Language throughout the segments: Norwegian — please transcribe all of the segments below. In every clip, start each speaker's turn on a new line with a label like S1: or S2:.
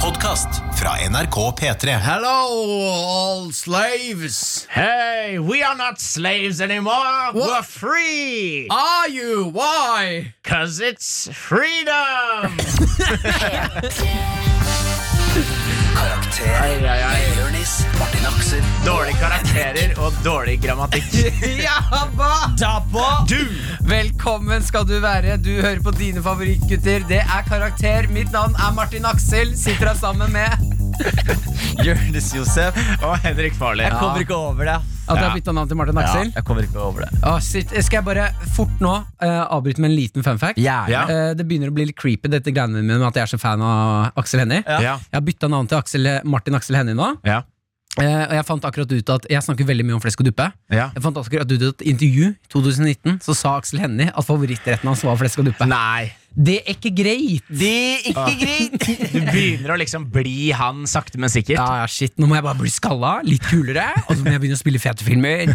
S1: podkast fra NRK P3.
S2: Hello, all slaves.
S3: Hey, we are not slaves anymore.
S2: What?
S3: We're free.
S2: Are you? Why?
S3: Cause it's freedom.
S1: Karakter. Jonis, Martin Aksel.
S3: Dårlige karakterer og dårlig grammatikk.
S4: Ja, ba!
S3: Du!
S4: Velkommen skal du være. Du hører på dine favorittgutter. Det er Karakter. Mitt navn er Martin Aksel. Sitter her sammen med
S5: Jonis Josef.
S3: Og Henrik Farley.
S5: Jeg kommer ikke over det. ass.
S4: At jeg
S3: Ja.
S4: har bytta navn til Martin Aksel?
S5: Jeg kommer ikke over det.
S4: Å, shit. Skal jeg bare fort nå eh, avbryte med en liten fun fact?
S5: Gjerne.
S3: Ja.
S4: Eh, det begynner å bli litt creepy, dette greiene mine med at jeg er så fan av Aksel Hennie.
S5: Ja.
S3: Ja.
S4: Jeg har bytta navn til Aksel, eh, Martin Aksel Hennie nå.
S3: Ja.
S4: eh, og jeg fant akkurat ut at Jeg snakker veldig mye om flesk og duppe.
S3: Ja.
S4: Jeg fant akkurat ut i et intervju i 2019 Så sa Aksel Hennie at favorittretten hans var flesk og duppe.
S3: Nei.
S4: Det er ikke greit!
S5: Det er ikke greit!
S3: Du begynner å liksom bli han sakte, men sikkert.
S4: Ja, ja, shit, Nå må jeg bare bli skalla, litt kulere, og så må jeg begynne å spille fete filmer.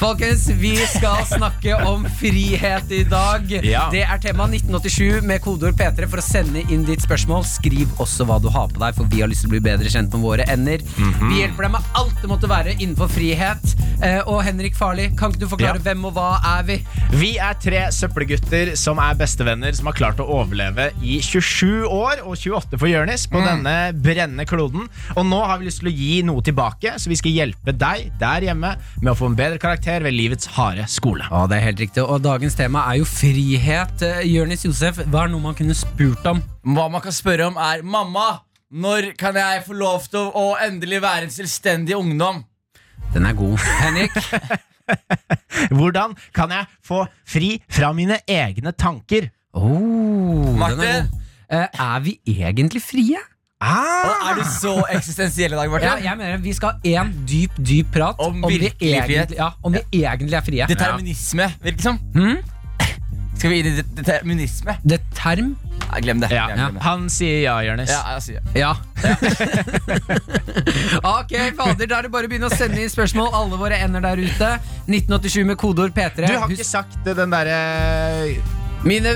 S4: Folkens, vi skal snakke om frihet i dag.
S3: Ja.
S4: Det er tema 1987 med kodeord P3 for å sende inn ditt spørsmål. Skriv også hva du har på deg, for vi har lyst til å bli bedre kjent med våre ender. Vi hjelper deg med alt det måtte være innenfor frihet. Eh, og Henrik Farli, kan ikke du forklare
S3: Ja.
S4: hvem og hva er vi?
S3: Vi er tre søppelgutter som er bestevenner, som har klart å overleve i 27 år og 28 for Jonis på
S5: Mm.
S3: denne brennende kloden. Og nå har vi lyst til å gi noe tilbake, så vi skal hjelpe deg der hjemme med å få en bedre karakter ved livets harde skole.
S4: Ja, det er helt riktig. Og dagens tema er jo frihet. Eh, Jørnis Josef, hva er noe man kunne spurt om?
S5: Hva man kan spørre om, er Mamma, når kan jeg få lov til å, å endelig være en selvstendig ungdom?
S4: Den er god. Henrik?
S3: Hvordan kan jeg få fri fra mine egne tanker?
S4: Oh,
S5: Martin?
S4: den er god. Eh, er vi egentlig frie?
S5: Å, er du så eksistensiell i dag,
S4: Ja,
S5: Martin?
S4: jeg mener Vi skal ha én dyp, dyp prat
S5: Om
S4: vi,
S5: virkelig frihet.
S4: egentlig, ja, om vi egentlig er frie.
S5: Determinisme, virker det som.
S4: Hmm?
S5: Skal vi inn i det- determinisme?
S4: Det term?
S5: Nei, glem det.
S3: Ja.
S5: Glem det.
S3: Han sier ja, Jonis.
S5: Ja, jeg sier det.
S4: Ja. ok, fader, da er det bare å begynne å sende inn spørsmål. Alle våre ender der ute. 1987 med kodeord P3.
S3: Du har
S4: Husk-
S3: ikke sagt eh, den eh, derre
S4: Mine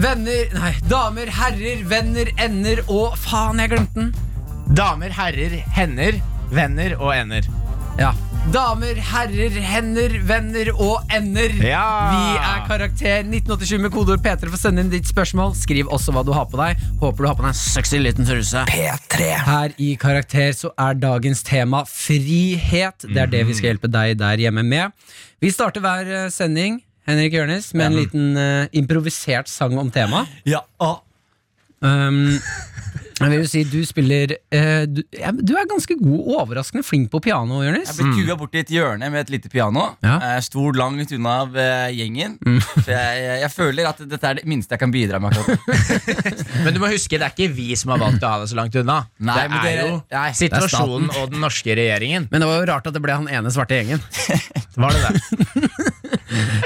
S4: venner Nei, damer, herrer, venner, ender og Faen, jeg glemte den!
S3: damer, herrer, hender, venner og ender.
S4: Ja. Damer, herrer, hender, venner og ender.
S3: Ja.
S4: Vi er Karakter 1987 med kodeord P3 for å sende inn ditt spørsmål. Skriv også hva du har på deg. Håper du har på deg en sexy liten truse. Her i Karakter så er dagens tema frihet. Det er det vi skal hjelpe deg der hjemme med. Vi starter hver eh, sending Henrik Jørnes, med en liten eh, improvisert sang om temaet.
S5: Ja, å.
S4: Um, jeg vil jo si du spiller eh, du, ja, men du er ganske god, overraskende flink på piano, Jonis.
S5: Jeg ble kua bort i et hjørne med et lite piano.
S4: Hmm. Ja. Hmm.
S5: Eh, Stort langt unna av eh, gjengen. Så jeg, jeg, jeg føler at dette er det minste jeg kan bidra med. akkurat nå.
S3: Men du må huske, det er ikke vi som har valgt å ha det så langt unna.
S5: Nei,
S3: det
S5: men
S3: er
S5: dere-
S3: jo
S5: nei, det
S4: er
S3: situasjonen og den norske regjeringen.
S4: Men det var jo rart at det ble han ene svarte gjengen.
S3: Var det det?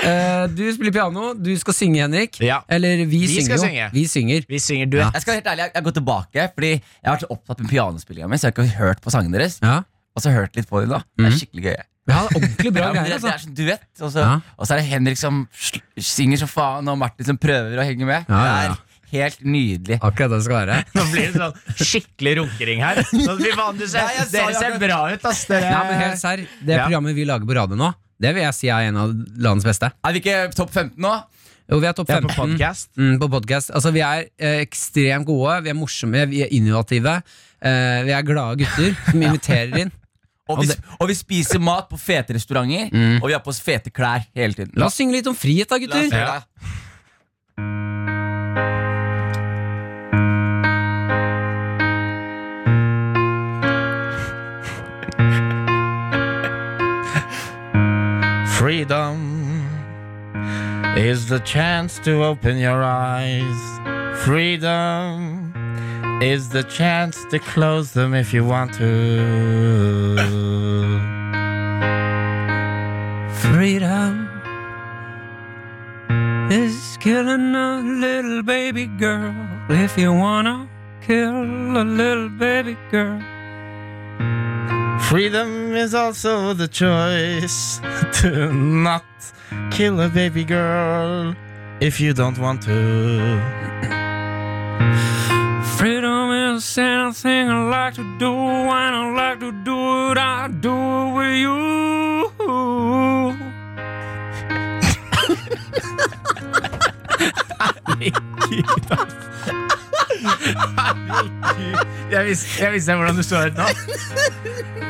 S4: Eh, du spiller piano, du skal synge, Henrik.
S3: Ja.
S4: Eller vi,
S3: Vi
S4: synger
S3: skal
S4: jo.
S3: synge.
S4: Vi synger.
S3: Vi synger duett.
S5: Jeg skal være helt ærlig, jeg, jeg går tilbake Fordi jeg har vært så opptatt med pianospillinga mi, så jeg har ikke hørt på sangene deres.
S4: Ja.
S5: Og så har jeg hørt litt på dem, da. Det er skikkelig gøy.
S4: Vi har ordentlig bra
S5: Ja, men
S4: greier.
S5: det, det er
S4: Altså.
S5: sånn duett, og så,
S4: Ja.
S5: og så er det Henrik som sl- synger så faen, og Martin som prøver å henge med.
S4: Ja, ja, ja.
S5: Det er helt nydelig.
S4: Akkurat det det skal være.
S3: Nå blir det sånn skikkelig runkering her. Sånn, fy faen, du ser,
S5: Nei, jeg sa
S3: dere
S5: jo
S3: ser
S5: akkurat-
S3: bra ut, ass. Dere.
S4: Nei, men helt serr, Det
S3: Ja.
S4: programmet vi lager på radio nå, det vil jeg si er en av landets beste.
S5: Er vi ikke topp 15 nå?
S4: Jo, vi er topp
S3: Vi er på
S4: 15
S3: podcast.
S4: mm, på podcast. Altså, vi er eh, ekstremt gode, vi er morsomme, vi er innovative. eh, vi er glade gutter som inviterer inn.
S5: Og vi,
S4: Og det-
S5: og vi spiser mat på fete restauranter, og vi har på oss fete klær hele tiden.
S4: La oss synge litt om frihet, da,
S5: La oss
S4: gutter.
S5: gjøre
S3: Ja.
S5: det.
S3: Freedom is the chance to open your eyes. Freedom is the chance to close them if you want to.
S4: Freedom is killing a little baby girl. If you wanna kill a little baby girl.
S3: Freedom is also the choice to not kill a baby girl if you don't want to.
S4: Freedom is
S6: There's anything I like to do, and I like to do it, I do it with you.
S3: Jeg visste, jeg visste hvordan du så ut nå.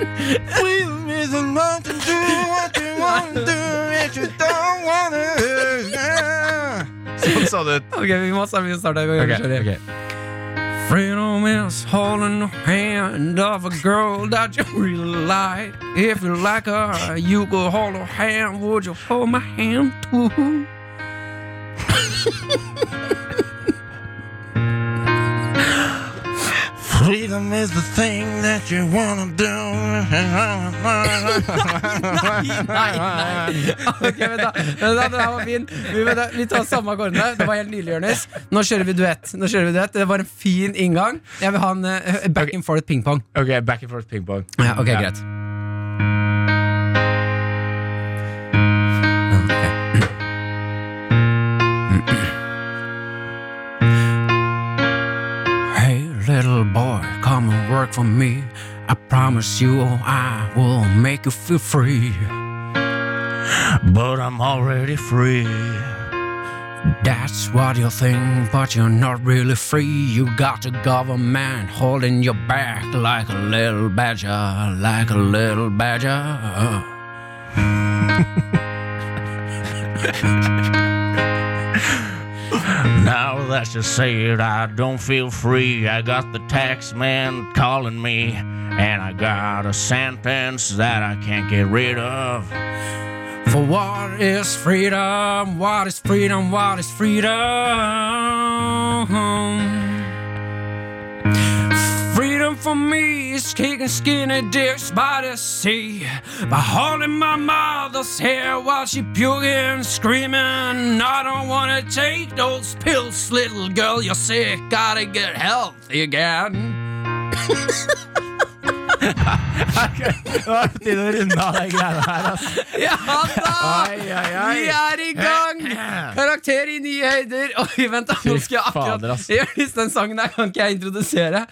S3: Sånn så det ut.
S4: Ok, vi må starte, vi må starte. Vi må gjøre det. Freedom is holding the hand of a girl that you really like. If you like her, you could hold her hand. Would you hold my hand too? Ok, vent da, vent da, Den her var fin. Vi, vent da, vi tar samme akkordene. Det var helt nydelig, Jonis. Nå kjører vi duett. Nå kjører vi duett Det var en fin inngang. Jeg vil ha en eh, back and forth ping-pong.
S3: Ok, back and forth ping-pong.
S4: Ja, ok,
S3: Ja.
S4: greit Hey little boy, come and work for me I promise you I will make you feel free
S3: But I'm already free.
S4: That's what you think, but you're not really free You got the government holding you back Like a little badger, like a little badger
S6: Now that's just said, I don't feel free. I got the tax man calling me, and I got a sentence that I can't get rid of.
S4: For what is freedom? What is freedom? What is freedom? Freedom for me is kicking skinny dicks by the sea, by holding my mother's hair while she puking, screaming, I don't wanna take those pills, little girl, you're sick, gotta get healthy again.
S3: Det var på tide å runde av de greiene her. ass.
S4: Ja da!
S3: Ai, ai, ai.
S4: Vi er i gang! Karakter i nye høyder. Oi, vent, da. Nå skal jeg
S3: fader,
S4: akkurat
S3: ass.
S4: Jonis, den sangen der kan ikke jeg introdusere.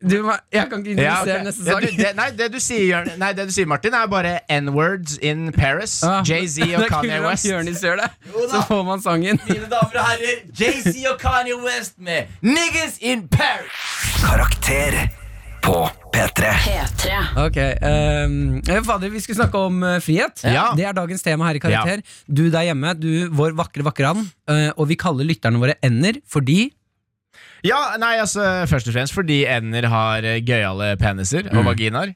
S4: Du, sånn må- jeg kan ikke introdusere
S3: Ja, ok.
S4: neste
S3: Ja,
S4: sang.
S3: du, det, nei, det du sier, Jørn- nei, det du sier, Martin, er bare N-words in Paris.
S4: Ah,
S3: Jay-Z
S4: det er
S3: og
S4: kult
S3: Kanye
S4: om
S3: West.
S4: Jonis gjør det,
S5: Jo
S4: så
S5: da.
S4: får man sangen.
S5: Mine damer og herrer, Jay-Z og Kanye West med Niggas in Paris.
S1: Karakter på P3.
S7: P3.
S4: Ok, ehm, eh, Fader, vi skulle snakke om eh, frihet.
S3: Ja.
S4: Det er dagens tema her i Karakter. Du der hjemme, du vår vakre vakran. eh, og vi kaller lytterne våre ender fordi
S3: Ja, nei, altså Først og fremst fordi ender har eh, gøyale peniser og vaginaer.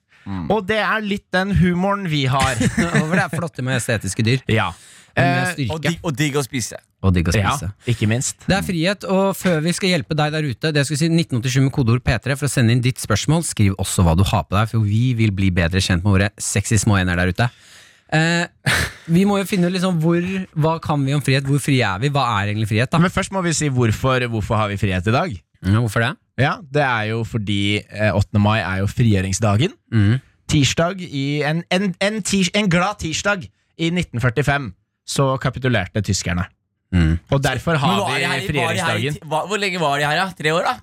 S3: Og det er litt den humoren vi har.
S4: Over det er flotte med estetiske dyr.
S3: ja.
S4: Men med
S3: Eh,
S5: Og
S4: styrke altså.
S5: digg, og digg å spise.
S4: og digg å
S3: ja,
S4: spise.
S3: ikke minst.
S4: Det er frihet, og før vi skal hjelpe deg der ute, det jeg skulle si 1987 med kodeord P3 for å sende inn ditt spørsmål, skriv også hva du har på deg, for vi vil bli bedre kjent med våre sexy små ender der ute. Eh, vi må jo finne ut liksom hvor, hva kan vi om frihet, hvor frie er vi, hva er egentlig frihet da?
S3: Men først må vi si hvorfor, hvorfor har vi frihet i dag.
S4: Ja, hvorfor det?
S3: Ja, Det er jo fordi eh, 8. mai er jo frigjøringsdagen. Tirsdag i en, en, en, tirs, en glad tirsdag i 1945 så kapitulerte tyskerne.
S4: Mm.
S3: Og derfor
S5: Men
S3: har vi
S5: var de her i- var de her i
S3: frigjøringsdagen.
S5: ti- hva- Hvor lenge var de her, da? Tre år? da?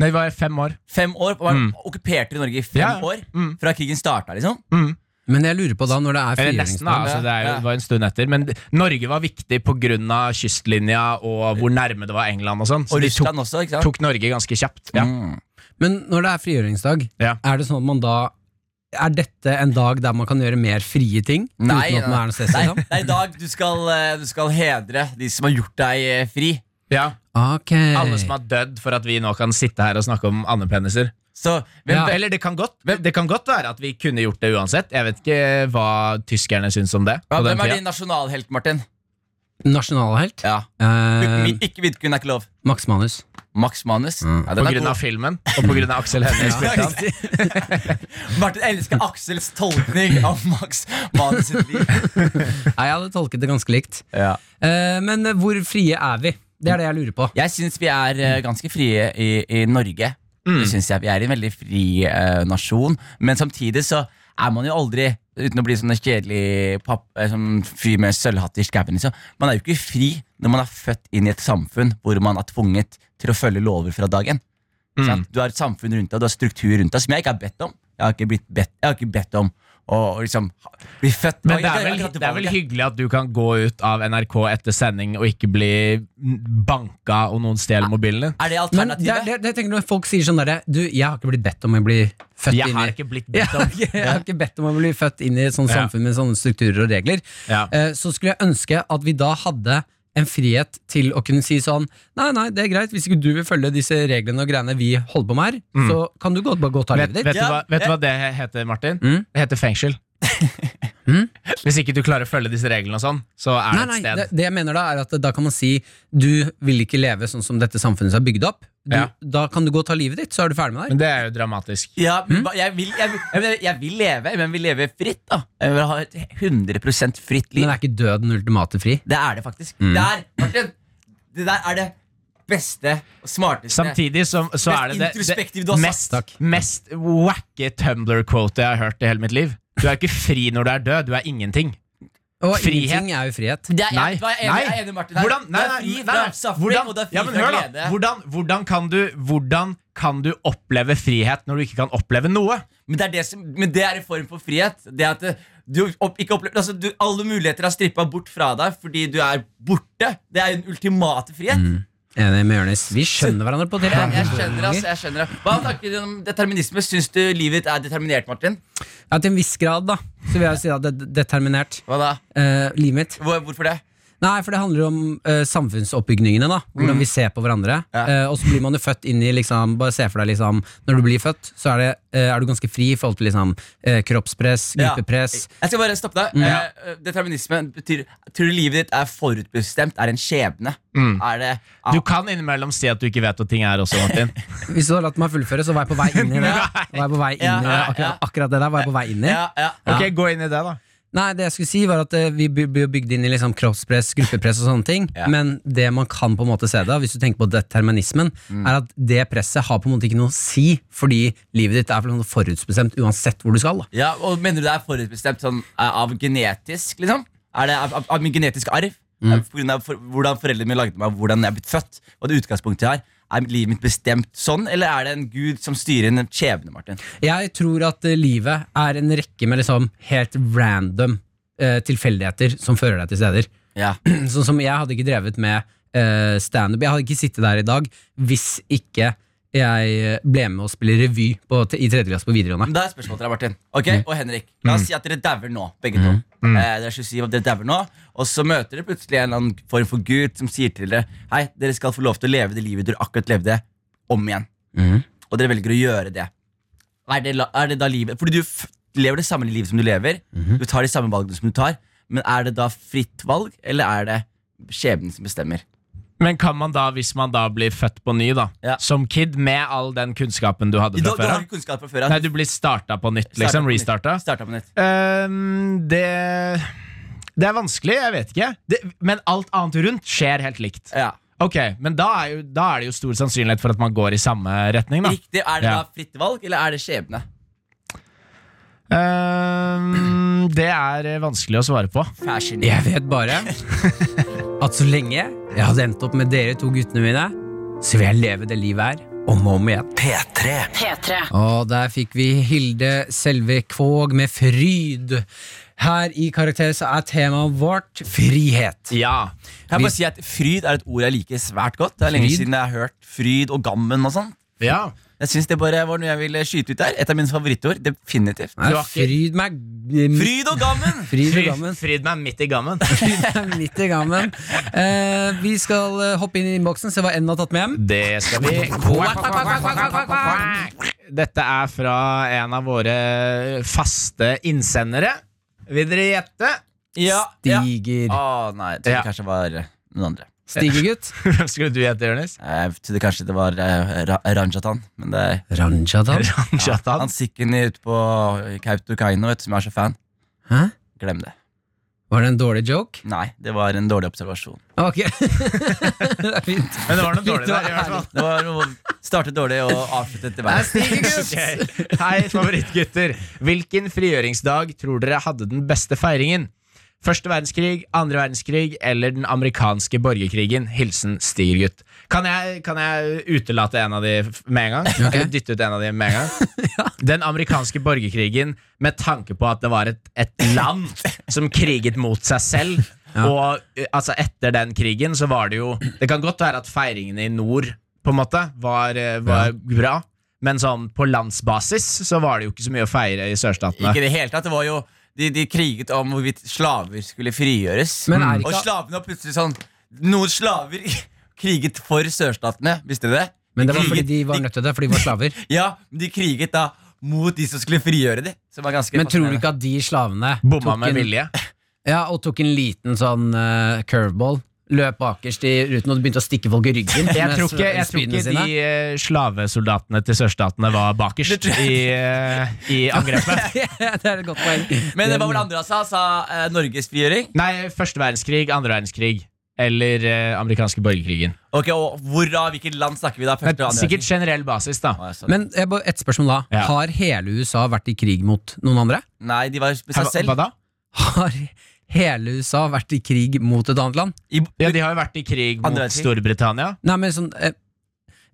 S3: Nei, det var fem år.
S5: Fem år? Var Okkuperte Norge i fem
S3: Ja, ja.
S5: år?
S3: Mm.
S5: Fra krigen starta, liksom?
S4: Men jeg lurer på da, når det er
S3: Eller nesten, da.
S4: frigjøringsdag,
S3: Altså, det, er jo,
S5: Ja.
S3: det var en stund etter. Men d- Norge var viktig pga. kystlinja og hvor nærme det var England og sånn. Så
S5: Og
S3: de
S5: Russland
S3: tok,
S5: også, ikke sant?
S3: tok Norge ganske kjapt. Ja.
S5: Mm.
S4: men når det er frigjøringsdag,
S3: Ja.
S4: er det sånn at man da, er dette en dag der man kan gjøre mer frie ting,
S5: Nei,
S4: uten at man
S5: nei.
S4: er noe stress liksom?
S5: Det er i dag du skal, eh, du skal hedre de som har gjort deg eh, fri.
S3: Ja.
S4: Ok.
S3: Alle som har dødd for at vi nå kan sitte her og snakke om andepeniser.
S5: Så hvem
S4: Ja.
S3: Eller det kan, godt, det kan godt være at vi kunne gjort det uansett. Jeg vet ikke hva tyskerne syns om det.
S5: Ja,
S3: på den
S5: Hvem er
S3: tida.
S5: din nasjonalhelt, Martin?
S4: Nasjonalhelt?
S5: Ja.
S4: Eh,
S5: Min, ikke Vidkun er ikke lov.
S4: Max Manus.
S5: Max Manus.
S4: Mm.
S5: Ja, den
S3: På
S5: er
S3: grunn
S5: god.
S3: av filmen og på grunn av Aksel Hennie. Spyttan.
S5: Martin elsker Aksels tolkning av Max Manus sitt liv.
S4: Nei, jeg hadde tolket det ganske likt.
S5: Ja.
S4: Eh, men eh, hvor frie er vi? Det er det jeg lurer på.
S5: Jeg syns vi er eh, ganske frie i, i Norge.
S3: Mm.
S5: Det synes jeg Vi er en veldig fri eh, nasjon. Men samtidig så er man jo aldri, uten å bli sånn en kjedelig papp, eh, sånn fyr med sølvhatt i skauen liksom. Man er jo ikke fri når man er født inn i et samfunn hvor man er tvunget til å følge lover fra dagen.
S3: Mm.
S5: Sant? Du har et samfunn rundt deg, du har struktur rundt deg, som jeg ikke har bedt om. Jeg har ikke, blitt bedt, jeg har ikke bedt om å liksom ha- bli født
S3: Men
S5: Og
S3: det
S5: jeg-
S3: er,
S5: jeg har ikke
S3: vel,
S5: hatt
S3: det er vel
S5: valget.
S3: hyggelig at du kan gå ut av NRK etter sending og ikke bli banka og noen stjeler mobilen din.
S5: Er
S4: Men
S5: det
S4: det,
S5: alternativet?
S4: er- det, det tenker jeg når folk sier sånn derre Du, jeg har ikke blitt bedt om å bli født
S3: Jeg
S4: inn i
S3: har ikke blitt
S4: jeg
S3: bedt
S4: har
S3: om.
S4: ikke, jeg har ikke bedt om å bli født inn i et sånt
S3: Ja.
S4: samfunn med sånne strukturer og regler.
S3: Ja.
S4: Eh, Så skulle jeg ønske at vi da hadde en frihet til å kunne si sånn Nei, nei, det er greit. Hvis ikke du vil følge disse reglene og greiene vi holder på med her, så kan du godt bare gå og ta
S3: Vet,
S4: livet
S3: Mm. vet, du
S4: ditt.
S3: hva,
S5: Ja,
S3: vet du
S5: jeg-
S3: hva det heter, Martin?
S4: Mm.
S3: Det heter fengsel.
S4: Mm.
S3: Hvis ikke du klarer å følge disse reglene, og sånn så er
S4: Nei,
S3: det
S4: nei,
S3: et sted.
S4: det, det jeg mener da er at da kan man si du vil ikke leve sånn som dette samfunnet er bygd opp. Du,
S3: Ja.
S4: Da kan du gå og ta livet ditt, så er du ferdig med det.
S3: Men det er jo dramatisk.
S5: Ja, men hva- jeg, vil, jeg, vil, jeg, vil, jeg vil leve, men jeg vil leve fritt. da Jeg vil ha et 100 fritt liv.
S4: Men er ikke døden ultimate fri?
S5: Det er det faktisk.
S3: Hm.
S5: Det, er, Martin, det der er det beste og smarteste.
S3: Samtidig som, så er det det,
S5: introspektiv
S3: det
S5: du har
S3: mest,
S4: sagt. Takk.
S3: mest wacky Tumblr-quote jeg har hørt i hele mitt liv. Du er ikke fri når du er død. Du er ingenting.
S4: Og
S3: Frihet.
S4: ingenting er jo frihet.
S5: Det er,
S3: Nei.
S5: jeg, jeg, jeg, er enig med Martin her.
S3: Hvordan, nei,
S5: Du er
S3: nei,
S5: fri
S3: nei,
S5: fra
S3: nei. Hvordan,
S5: suffering, og du er fri
S3: ja, men
S5: fra
S3: hør da.
S5: glede.
S3: Hvordan, hvordan, kan du, hvordan kan du oppleve frihet når du ikke kan oppleve noe?
S5: Men det, er det som, men det er en form for frihet. Det at eh, du opp, ikke opplever, altså du, Alle muligheter er strippa bort fra deg fordi du er borte. Det er den ultimate frihet.
S3: Mm.
S4: Enig med Jonis. Vi skjønner hverandre på det.
S5: Jeg, jeg skjønner, altså. ass, jeg skjønner Hva tanker du om determinisme? Syns du livet ditt er determinert, Martin?
S4: Ja, til en viss grad, da. Så vil jeg jo si at det er determinert.
S5: Hva da?
S4: eh, livet mitt.
S5: Hvor, hvorfor det?
S4: Nei, for det handler om eh, samfunnsoppbygningene, da. Hvordan vi ser på hverandre.
S5: Mm. Ja.
S4: Eh, og så blir man jo født inn i liksom Bare se for deg, liksom Når du blir født, så er, det, eh, er du ganske fri i forhold til liksom eh, kroppspress,
S5: Ja.
S4: gruppepress.
S5: Jeg skal bare stoppe
S3: Mm.
S5: deg. Eh, eh, determinisme betyr Tror du livet ditt er forutbestemt? Er en skjebne? Er det
S3: Du kan innimellom si at du ikke vet hva ting er også, Martin.
S4: Hvis du hadde latt meg fullføre, så var jeg på vei inn i det.
S3: Nei.
S4: Var jeg på vei inn i det.
S5: Ja, ja.
S4: Akkurat, akkurat det der var jeg på vei inn i.
S5: Ja, ja.
S3: Ok, Gå inn i det, da.
S4: Nei, det jeg skulle si var at eh, vi by- blir bygd inn i liksom kroppspress, gruppepress og sånne ting.
S5: Ja.
S4: Men det man kan på en måte se da, hvis du tenker på determinismen,
S5: Mm.
S4: er at det presset har på en måte ikke noe å si, fordi livet ditt er for- forutbestemt uansett hvor du skal. da.
S5: ja, og Mener du det er forutbestemt sånn, eh, av genetisk? liksom? Er det av, av, av min genetisk arv?
S3: Mm.
S5: Eh, På grunn av for, hvordan foreldrene mine lagde meg, hvordan jeg er blitt født? Og det utgangspunktet jeg har Er livet mitt bestemt sånn, eller er det en gud som styrer en skjebne? Martin?
S4: Jeg tror at eh, livet er en rekke med liksom helt random eh, tilfeldigheter som fører deg til steder.
S5: Ja.
S4: Sånn som jeg hadde ikke drevet med eh, standup. Jeg hadde ikke sittet der i dag hvis ikke jeg eh, ble med og spille revy på, i tredje klasse på videregående.
S5: Men Da er et spørsmål til deg, Martin. Ok,
S3: Mm.
S5: Og Henrik. La oss si at dere dauer nå, begge to. Eh, dere skal si at dere dauer nå Og så møter dere plutselig en eller annen form for gud som sier til dere Hei, dere skal få lov til å leve det livet dere akkurat levde, om igjen.
S3: Mm.
S5: Og dere velger å gjøre det. Er det, la- er det da livet Fordi du f lever det samme livet som du lever.
S3: Mhm.
S5: Du tar de samme valgene som du tar. Men er det da fritt valg, eller er det skjebnen som bestemmer?
S3: Men kan man da, hvis man da blir født på ny, da,
S5: Ja.
S3: som kid, med all den kunnskapen du hadde
S5: Du, du
S3: fra før
S5: har
S3: av?
S5: ikke kunnskap fra før av.
S3: Nei, du liksom blir starta på nytt, liksom? Restarta?
S5: Starta på nytt.
S3: Ehm, det Det er vanskelig, jeg vet ikke. Det, men alt annet rundt skjer helt likt.
S5: Ja.
S3: Ok, Men da er, jo, da er det jo stor sannsynlighet for at man går i samme retning, da.
S5: Riktig. Er det
S3: Ja.
S5: da fritt valg, eller er det skjebne?
S3: Ehm, det er eh, vanskelig å svare på.
S5: Fashion.
S4: Jeg vet bare at så lenge jeg hadde endt opp med dere to guttene mine, så vil jeg leve det livet her om og om igjen.
S1: P3.
S7: P3.
S4: Og der fikk vi Hilde Selve Kvåg med Fryd. Her i Karakter så er temaet vårt frihet.
S3: Ja.
S5: Kan jeg bare
S4: Vi-
S5: si at Fryd er et ord jeg liker svært godt. Det er lenge
S4: Fryd?
S5: siden jeg har hørt fryd og gammen og sånn. Jeg synes det bare var noe jeg ville skyte ut der. Et av mine favorittord. Definitivt.
S4: Nei,
S3: Du har ikke-
S4: Fryd meg
S5: Fryd og gammen!
S4: Fryd i
S3: Fry-
S4: gammen.
S3: Fryd meg midt i gammen.
S4: Fryd meg midt i gammen. Eh, vi skal eh, hoppe inn i innboksen, se hva N har tatt med hjem.
S3: Det skal vi. Dette er fra en av våre faste innsendere. Vil dere gjette?
S5: Ja, ja.
S4: Stiger.
S5: Å nei, jeg trodde
S3: Ja.
S5: kanskje det var noen andre.
S4: Stigegutt.
S3: Hvem skulle du gjette, Jonis?
S5: Jeg trodde kanskje det var eh, Ra Ranjatan. Men det er
S4: Ranjadan.
S5: han sikken ute på Kautokeino, vet du, som jeg er så fan.
S4: Hæ?
S5: Glem det.
S4: Var det en dårlig joke?
S5: Nei, det var en dårlig observasjon.
S4: Ok Det er fint
S3: Men det var noe dårlig
S4: Det var
S3: der. i hvert fall.
S5: Det var noe Startet dårlig og avsluttet til verst.
S3: Ok. Hei, favorittgutter. Hvilken frigjøringsdag tror dere hadde den beste feiringen? Første verdenskrig, andre verdenskrig eller den amerikanske borgerkrigen. Hilsen Stigergutt. Kan jeg, kan jeg utelate en av de f- med en gang? Eller dytte ut en av de med en gang? Den amerikanske borgerkrigen med tanke på at det var et, et land som kriget mot seg selv. Og eh, altså etter den krigen så var det jo Det kan godt være at feiringene i nord på en måte var, eh, var bra, men sånn på landsbasis så var det jo ikke så mye å feire i sørstatene.
S5: Ikke i det hele tatt. Det var jo de, de kriget om hvorvidt slaver skulle frigjøres.
S4: Men er
S5: Og
S4: ikke-
S5: slavene var plutselig sånn Noen slaver kriget for sørstatene, visste du det?
S4: Men det var fordi
S5: kriget-
S4: de var nødt til det, fordi de var slaver.
S5: Ja, de kriget da mot de som skulle frigjøre dem. Som var ganske
S4: Men tror du
S5: fascinerende.
S4: ikke at de slavene
S3: Bomma med
S4: en,
S3: vilje.
S4: Ja, og tok en liten sånn eh, curveball? Løp bakerst i ruten og begynte å stikke folk i ryggen?
S3: Jeg
S4: med
S3: tror ikke, jeg tror
S4: spydene
S3: ikke
S4: sine?
S3: de eh, slavesoldatene til sørstatene var bakerst i, eh, i angrepet.
S4: det er et godt poeng.
S5: Men det var vel andre han sa? Sa eh, Norges frigjøring?
S3: Nei, første verdenskrig, andre verdenskrig. Eller eh, amerikanske borgerkrigen.
S5: Ok, og Hvorav hvilket land snakker vi da? Første
S3: Men
S5: og andre altså.
S3: Sikkert generell basis, da.
S5: verdenskrig?
S4: Men jeg bare, et spørsmål da.
S3: Ja.
S4: Har hele USA vært i krig mot noen andre?
S5: Nei, de var med
S3: Hva,
S5: seg selv.
S3: hva da?
S4: Har hele USA vært i krig mot et annet land?
S5: I,
S3: Ja, De har jo vært i krig mot
S5: Andre verdenskrig.
S3: Storbritannia.
S4: Nei, men sånn eh,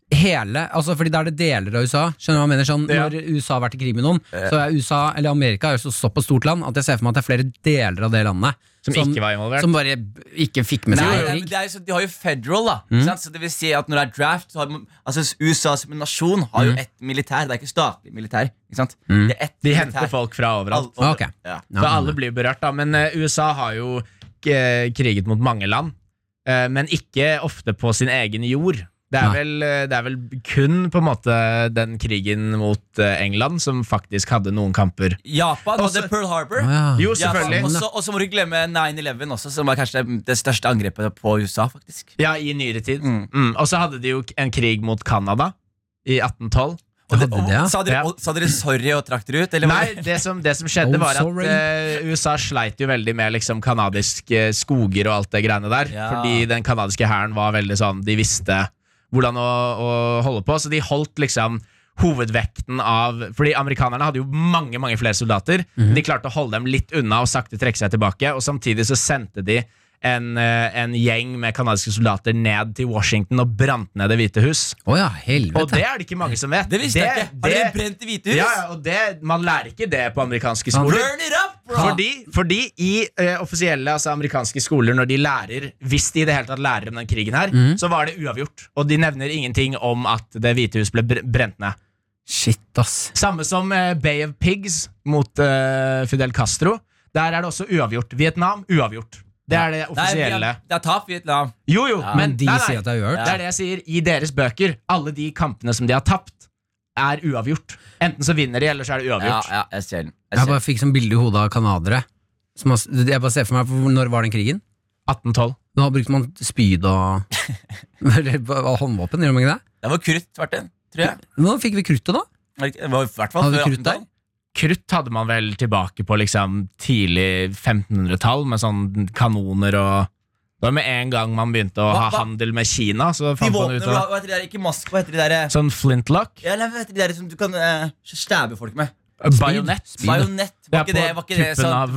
S4: Hele, altså fordi da er det deler av USA. Skjønner du hva jeg mener? Sånn,
S3: Ja.
S4: Når USA har vært i krig med noen, så er USA, eller Amerika, er jo så såpass stort land at jeg ser for meg at det er flere deler av det landet
S3: Som ikke var involvert.
S4: Som bare b- ikke fikk med
S5: Nei, Mm.
S4: seg
S5: det er,
S4: krig.
S5: det er, jo sånn- de har jo federal, da. ikke Sant? Så det vil si at når det er draft så har, man- altså USA som en nasjon har jo ett militær. Det er ikke statlig militær. Ikke sant? Det er ett
S3: De
S5: militær.
S3: henter folk fra overalt.
S5: Al- al-
S4: Ok.
S5: ja.
S4: Ja,
S3: Så
S4: men-
S3: alle blir berørt, da. Men eh, USA har jo eh, kriget mot mange land. eh, men ikke ofte på sin egen jord. Det er,
S4: Nei.
S3: vel, eh, det er vel kun på en måte den krigen mot eh, England som faktisk hadde noen kamper.
S5: Japan
S3: Også-
S5: hadde Pearl Harbor.
S4: Å, ja.
S3: Jo,
S5: Ja,
S3: selvfølgelig.
S5: Og så- og så må du glemme 9-11 også, som var kanskje det- det største angrepet på USA. faktisk
S3: Ja, i nyere tid. Mm.
S5: Mm.
S3: Og så hadde de jo k- en krig mot Canada i 1812.
S5: og det,
S4: Hadde det, ja?
S5: og, sa, dere,
S3: Ja.
S5: og, sa dere sorry og trakk dere ut? Eller var
S3: Nei,
S5: det-
S3: det som, det som skjedde,
S4: Oh,
S3: var at
S4: sorry.
S3: eh, USA sleit jo veldig med liksom kanadiske skoger og alt det greiene der.
S5: Ja.
S3: Fordi den kanadiske hæren var veldig sånn De visste hvordan å, å holde på, så de holdt liksom Hovedvekten av Fordi amerikanerne hadde jo mange mange flere soldater.
S5: Mhm.
S3: De klarte å holde dem litt unna og sakte trekke seg tilbake. Og samtidig så sendte de en, eh, en gjeng med kanadiske soldater ned til Washington og brant ned Det hvite hus.
S4: Å ja,
S3: Og
S4: helvete.
S3: det er det ikke mange som vet.
S5: Det visste jeg ikke. Har dere
S3: det-
S5: brent Det hvite hus?
S3: Ja, ja, og det, man lærer ikke det på amerikanske skoler.
S5: Burn it up, bro!
S3: Fordi, fordi i eh, offisielle altså amerikanske skoler, når de lærer hvis de i det hele tatt lærer om den krigen her,
S4: Mhm.
S3: så var det uavgjort. Og de nevner ingenting om at Det hvite hus ble br- brent ned.
S4: Shit, ass.
S3: Samme som eh, Bay of Pigs mot eh, Fidel Castro. Der er det også uavgjort. Vietnam uavgjort. Det er det
S5: Nei, vi
S3: offisielle.
S5: har- Det er tap, Vietnam.
S3: Jo, jo,
S4: Men de
S3: nei, nei.
S4: sier at det er uavgjort.
S3: Det er det jeg sier. I deres bøker, alle de kampene som de har tapt, er uavgjort. Enten så vinner de, eller så er det
S5: Ja,
S3: uavgjort.
S5: ja, jeg ser den. Jeg
S4: Jeg
S5: ser den.
S4: bare fikk sånn bilde i hodet av canadere. Som har s- Jeg bare ser for meg, hvor- Når var den krigen?
S3: 1812.
S4: Da brukte man spyd og Eller hva- håndvåpen, gjør man ikke det?
S5: Det var krutt, Martin. Tror jeg.
S4: Hvordan fikk vi kruttet, da?
S5: Var det ikke- Det var i hvert fall
S4: Hadde vi
S5: før
S4: krutt da?
S5: 18-tallet.
S3: Krutt hadde man vel tilbake på liksom tidlig 1500-tall, med sånn kanoner og Det var med en gang man begynte å
S5: Hva-
S3: ha
S5: hva-
S3: handel med Kina, så
S5: De
S3: fant man
S5: våpnene,
S3: ut
S5: hva
S3: av
S5: hva heter de der? Ikke mask, hva heter de der?
S3: Sånn flintlock.
S5: Ja, nei, hva heter de der som du kan eh, stabbe folk med?
S3: Bajonett.
S5: Bajonett.
S3: Ja, på
S5: Var ikke det, var ikke
S3: tuppen
S5: det sånn
S3: av eh,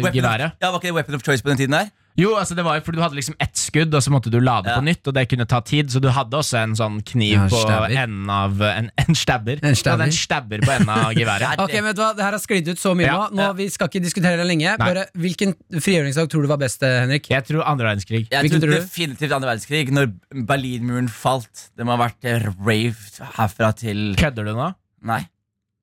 S5: weapon of-
S3: geværet.
S5: Ja, var ikke det weapon of choice på den tiden der?
S3: Jo, altså det var jo fordi du hadde liksom ett skudd, og så måtte du lade
S5: Ja.
S3: på nytt, og det kunne ta tid, så du hadde også en sånn kniv
S4: Ja,
S3: på
S4: stabber.
S3: enden av En, en stabber.
S4: En
S3: Du hadde
S4: stabber.
S3: en stabber på enden av geværet.
S4: Ok, men vet du hva? Det her har sklidd ut så mye
S3: Ja.
S4: nå. nå Vi skal ikke diskutere det lenge. Bare, hvilken frigjøringsdag tror du var best, eh, Henrik?
S3: Jeg tror andre verdenskrig.
S5: Jeg
S4: Hvilken
S5: tror
S4: tror du?
S5: definitivt andre verdenskrig, når Berlinmuren falt. Det må ha vært eh, rave herfra til
S3: Kødder du nå?
S5: Nei.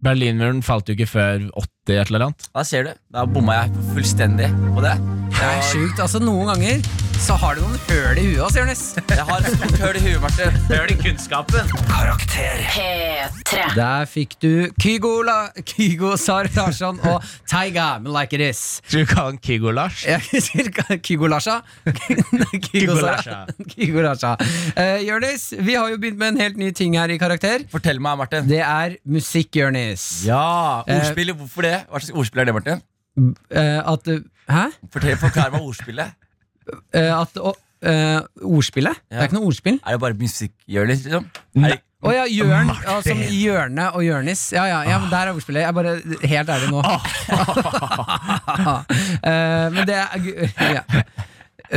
S3: Berlinmuren falt jo ikke før 80 et eller annet.
S5: Da ser du. Da bomma jeg fullstendig på det.
S4: Det er sjukt. Altså, noen ganger så har du noen høl i huet ass, Jonis.
S5: Jeg har et stort høl i huet, Martin.
S3: Hør din kunnskapen!
S1: Karakter.
S7: P3.
S4: Der fikk du Kygo, La Kygo Saratarsson og Taiga med Like It Is.
S3: Skal vi kalle han Kygo Lars?
S4: Jeg sier Ka- Kygo Larsa. Kygo Sara- Kygo Larsa. Eh, Jonis, vi har jo begynt med en helt ny ting her i Karakter.
S5: Fortell meg, Martin.
S4: Det er musikk, Jonis.
S5: Ja,
S3: eh.
S5: ordspill, Hvorfor det? Hva slags ordspill er det, Martin?
S4: Eh, at du- Hæ?
S5: Fortell, Forklar meg ordspillet.
S4: Eh, at å, eh, Ordspillet? Det
S5: Ja.
S4: er ikke noe ordspill?
S5: Er det bare musikkgjørlig, liksom? Er det,
S4: Å ja, Jørn. Ja, som Jørne og Jørnis. Ja, ja, ja, men der er ordspillet. Jeg er bare helt ærlig nå. Eh, men det er ja.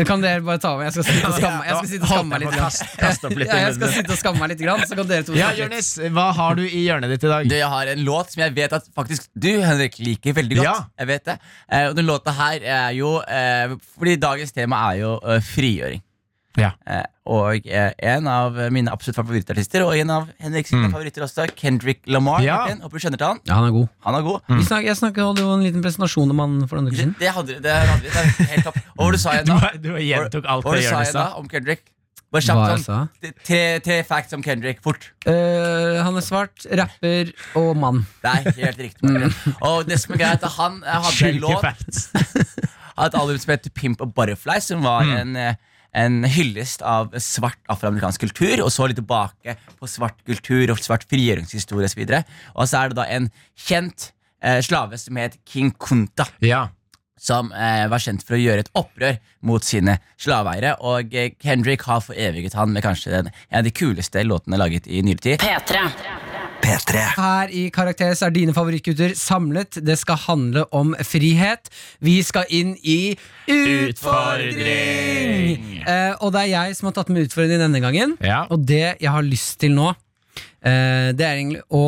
S4: Kan dere bare ta over? Jeg skal sitte og skamme, jeg skal sitte og skamme meg litt. Grann.
S3: Kast opp litt
S4: Ja,
S3: i
S4: jeg skal
S3: munnen.
S4: sitte og skamme meg litt, grann, så kan dere to
S3: Ja,
S4: snakke litt.
S3: Jonis, hva har du i hjørnet ditt i dag?
S5: Du, jeg har en låt som jeg vet at faktisk du, Henrik, liker veldig godt.
S3: Ja.
S5: Jeg vet det. Eh, og den låta her er jo eh, Fordi dagens tema er jo eh, frigjøring.
S3: Ja.
S5: Eh, og eh, en av mine absolutt favorittartister, og en av Henriks favoritter også, Kendrick Lamar.
S3: Mm. Ja. Mm.
S5: Martin. Håper du skjønner til han.
S4: Ja, han er god.
S5: Han er god.
S4: Vi snak, jeg snakket, hadde jo en liten presentasjon om han for noen uker
S5: Det,
S4: siden.
S5: det hadde det hadde vi. Det er helt topp. Og hva du sa igjen
S3: Du,
S5: da?
S3: du gjentok alt liksom. det
S5: Hva du sa
S3: Jonis
S5: igjen da
S3: sa.
S5: om Kendrick? Bare
S4: Hva jeg
S5: kjapt
S4: sa?
S5: sånn. Tre, tre facts om Kendrick. Fort.
S4: Eh, han er svart, rapper og mann.
S5: Det er helt riktig.
S3: Mm.
S5: Martin. Og det som er greit, er han eh, hadde en
S3: Sjuke
S5: låt
S3: facts.
S5: av et album som heter Pimp og Butterfly, som var en, eh, en hyllest av svart afroamerikansk kultur, og så litt tilbake på svart kultur og svart frigjøringshistorie osv. Og så er det da en kjent eh, slave som het King Kunta,
S3: Ja.
S5: som eh, var kjent for å gjøre et opprør mot sine slaveeiere, og eh, Kendrick har foreviget han med kanskje den, en av de kuleste låtene laget i nyere tid.
S7: P3.
S1: P3.
S4: Her i Karakter så er dine favorittgutter samlet. Det skal handle om frihet. Vi skal inn i utfordring! Eh, og det er jeg som har tatt med utfordringen denne gangen.
S3: Ja.
S4: Og det jeg har lyst til nå, eh, det er egentlig å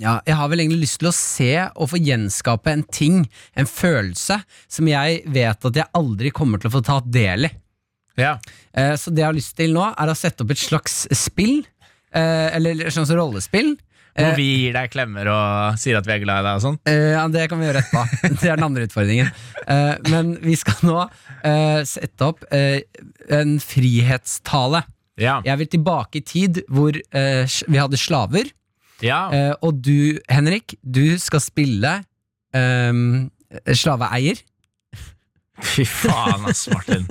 S4: ja, jeg har vel egentlig lyst til å se og få gjenskape en ting, en følelse, som jeg vet at jeg aldri kommer til å få tatt del i.
S3: ja.
S4: Eh, Så det jeg har lyst til nå, er å sette opp et slags spill. eh, Eller et slags rollespill.
S3: Hvor vi gir deg klemmer og sier at vi er glad i deg og sånn.
S4: Eh, Ja, det kan vi gjøre etterpå. Det er den andre utfordringen. Eh, Men vi skal nå eh, sette opp eh, en frihetstale.
S3: Ja.
S4: Jeg vil tilbake i tid hvor eh, s- vi hadde slaver.
S3: ja.
S4: Eh, Og du, Henrik, du skal spille eh, slaveeier.
S3: Fy faen, ass, Martin.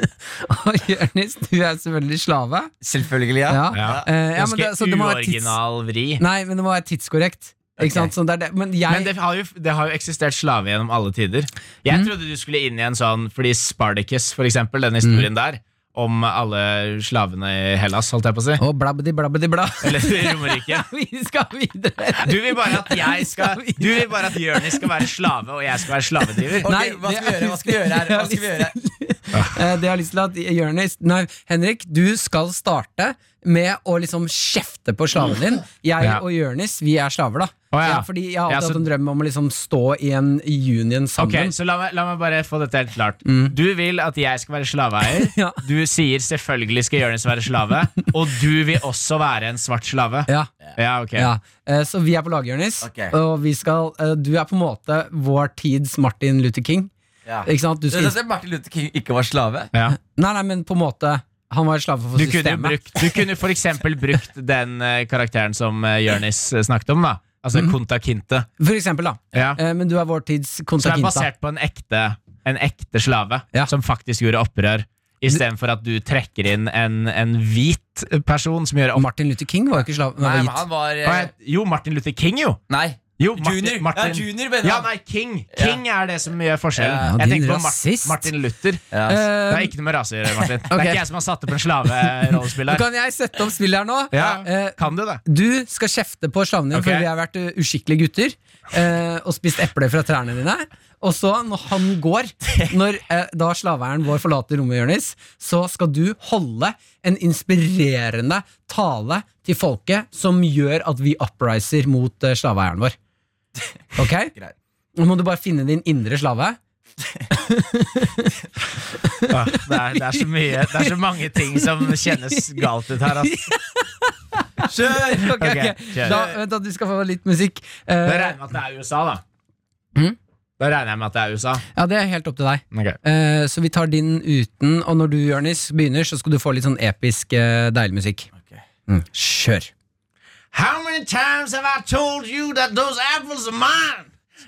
S4: Og Jonis, du er selvfølgelig slave.
S5: Selvfølgelig, ja.
S4: Ja.
S3: Ja.
S4: Eh, ja, men
S3: Ganske
S4: det- så det må være tids-
S3: uoriginal vri.
S4: Nei, men det må være tidskorrekt. Ikke sant? Sånn, det er det. Men jeg
S3: Men det har, jo, det har jo eksistert slave gjennom alle tider. Jeg trodde du skulle inn i en sånn Fordi Spartacus, for eksempel, den historien der, om alle slavene i Hellas, holdt jeg på å si.
S4: Å, blabbedi, blabbedi, bla.
S3: Eller i Romerike.
S4: Vi skal videre.
S3: Du vil bare at jeg skal Du vil bare at Jonis skal være slave, og jeg skal være slavedriver.
S5: Ok,
S4: Nei,
S5: hva skal vi
S4: det-
S5: gjøre? Hva skal vi gjøre her? Hva skal vi gjøre?
S4: Eh, Det jeg har lyst til at Jonis Nei, Henrik, du skal starte med å liksom kjefte på slaven din. Jeg
S3: Ja.
S4: og Jonis, vi er slaver, da.
S3: Å, ja.
S4: fordi jeg har
S3: Ja,
S4: alltid
S3: så-
S4: hatt en drøm om å liksom stå i en union
S3: Ok,
S4: sammen.
S3: så la meg, la meg bare få dette helt klart. Du vil at jeg skal være slaveeier.
S4: Mm. Ja.
S3: Du sier selvfølgelig skal Jonis være slave, og du vil også være en svart slave.
S4: Ja,
S3: Ja, ok
S4: ja. Eh, Så vi er på lag, Jonis.
S5: Ok.
S4: Og vi skal, eh, du er på en måte vår tids Martin Luther King.
S5: Ja.
S4: Ikke sant? Du
S5: Du
S4: skal
S5: synes at Martin Luther King ikke var slave?
S3: Ja.
S4: Nei, nei, men på en måte Han var slave for
S3: Du kunne, jo
S4: systemet
S3: brukt, du kunne for eksempel brukt den eh, karakteren som uh, Jørnis snakket om, da. Altså
S4: Mm.
S3: Kunta Kinte.
S4: For eksempel da
S3: Ja.
S4: Eh, Men du er vår tids
S3: Som er
S4: kontakinta
S3: basert på en ekte, en ekte slave
S4: Ja.
S3: som faktisk gjorde opprør. Istedenfor at du trekker inn en, en hvit person som gjør opprør.
S4: Martin Luther King var jo ikke slave
S5: Nei,
S4: Nei,
S5: men han var eh,
S3: Jo, Martin Luther King, jo!
S5: Nei.
S3: jo
S5: Junior. Ja, junior, mener
S3: ja,
S5: han.
S3: nei, King King er det som gjør forskjellen.
S4: Ja,
S3: Jeg
S4: din
S3: tenker på
S4: rasist. Um,
S3: Martin, Martin Luther.
S5: Ja.
S3: Det har ikke noe med rase å gjøre, Martin. Det
S4: ok.
S3: er ikke jeg som har satt opp en slaverollespiller.
S4: Kan jeg sette opp spillet her nå?
S3: Ja,
S4: Eh,
S3: kan du det?
S4: du skal kjefte på slavene dine
S3: Ok.
S4: For vi har vært eh, uskikkelige gutter eh, Og spist eple fra trærne dine Og så når han går Når eh, da slaveieren vår forlater rommet Jonis, Så skal du holde En inspirerende tale Til folket som gjør at vi Upriser mot eh, slaveieren vår Ok?
S5: Greit.
S4: Nå må du bare finne din indre slave
S3: Åh, det, er, det, er så mye, det er så mange ting som kjennes galt ut her. altså. ass.
S4: Kjør!
S3: Ok, kjør.
S4: Da, vent da, du skal få litt musikk Eh,
S3: Da regner jeg med at det er USA, da. Hm? Da regner jeg med at det er USA.
S4: Ja, det er helt opp til deg Eh, Så vi tar din uten, og når du, Jørnis, begynner, så skal du få litt sånn episk, eh, deilig musikk. Mm. Kjør.
S6: How many times have I told you that those apples are mine?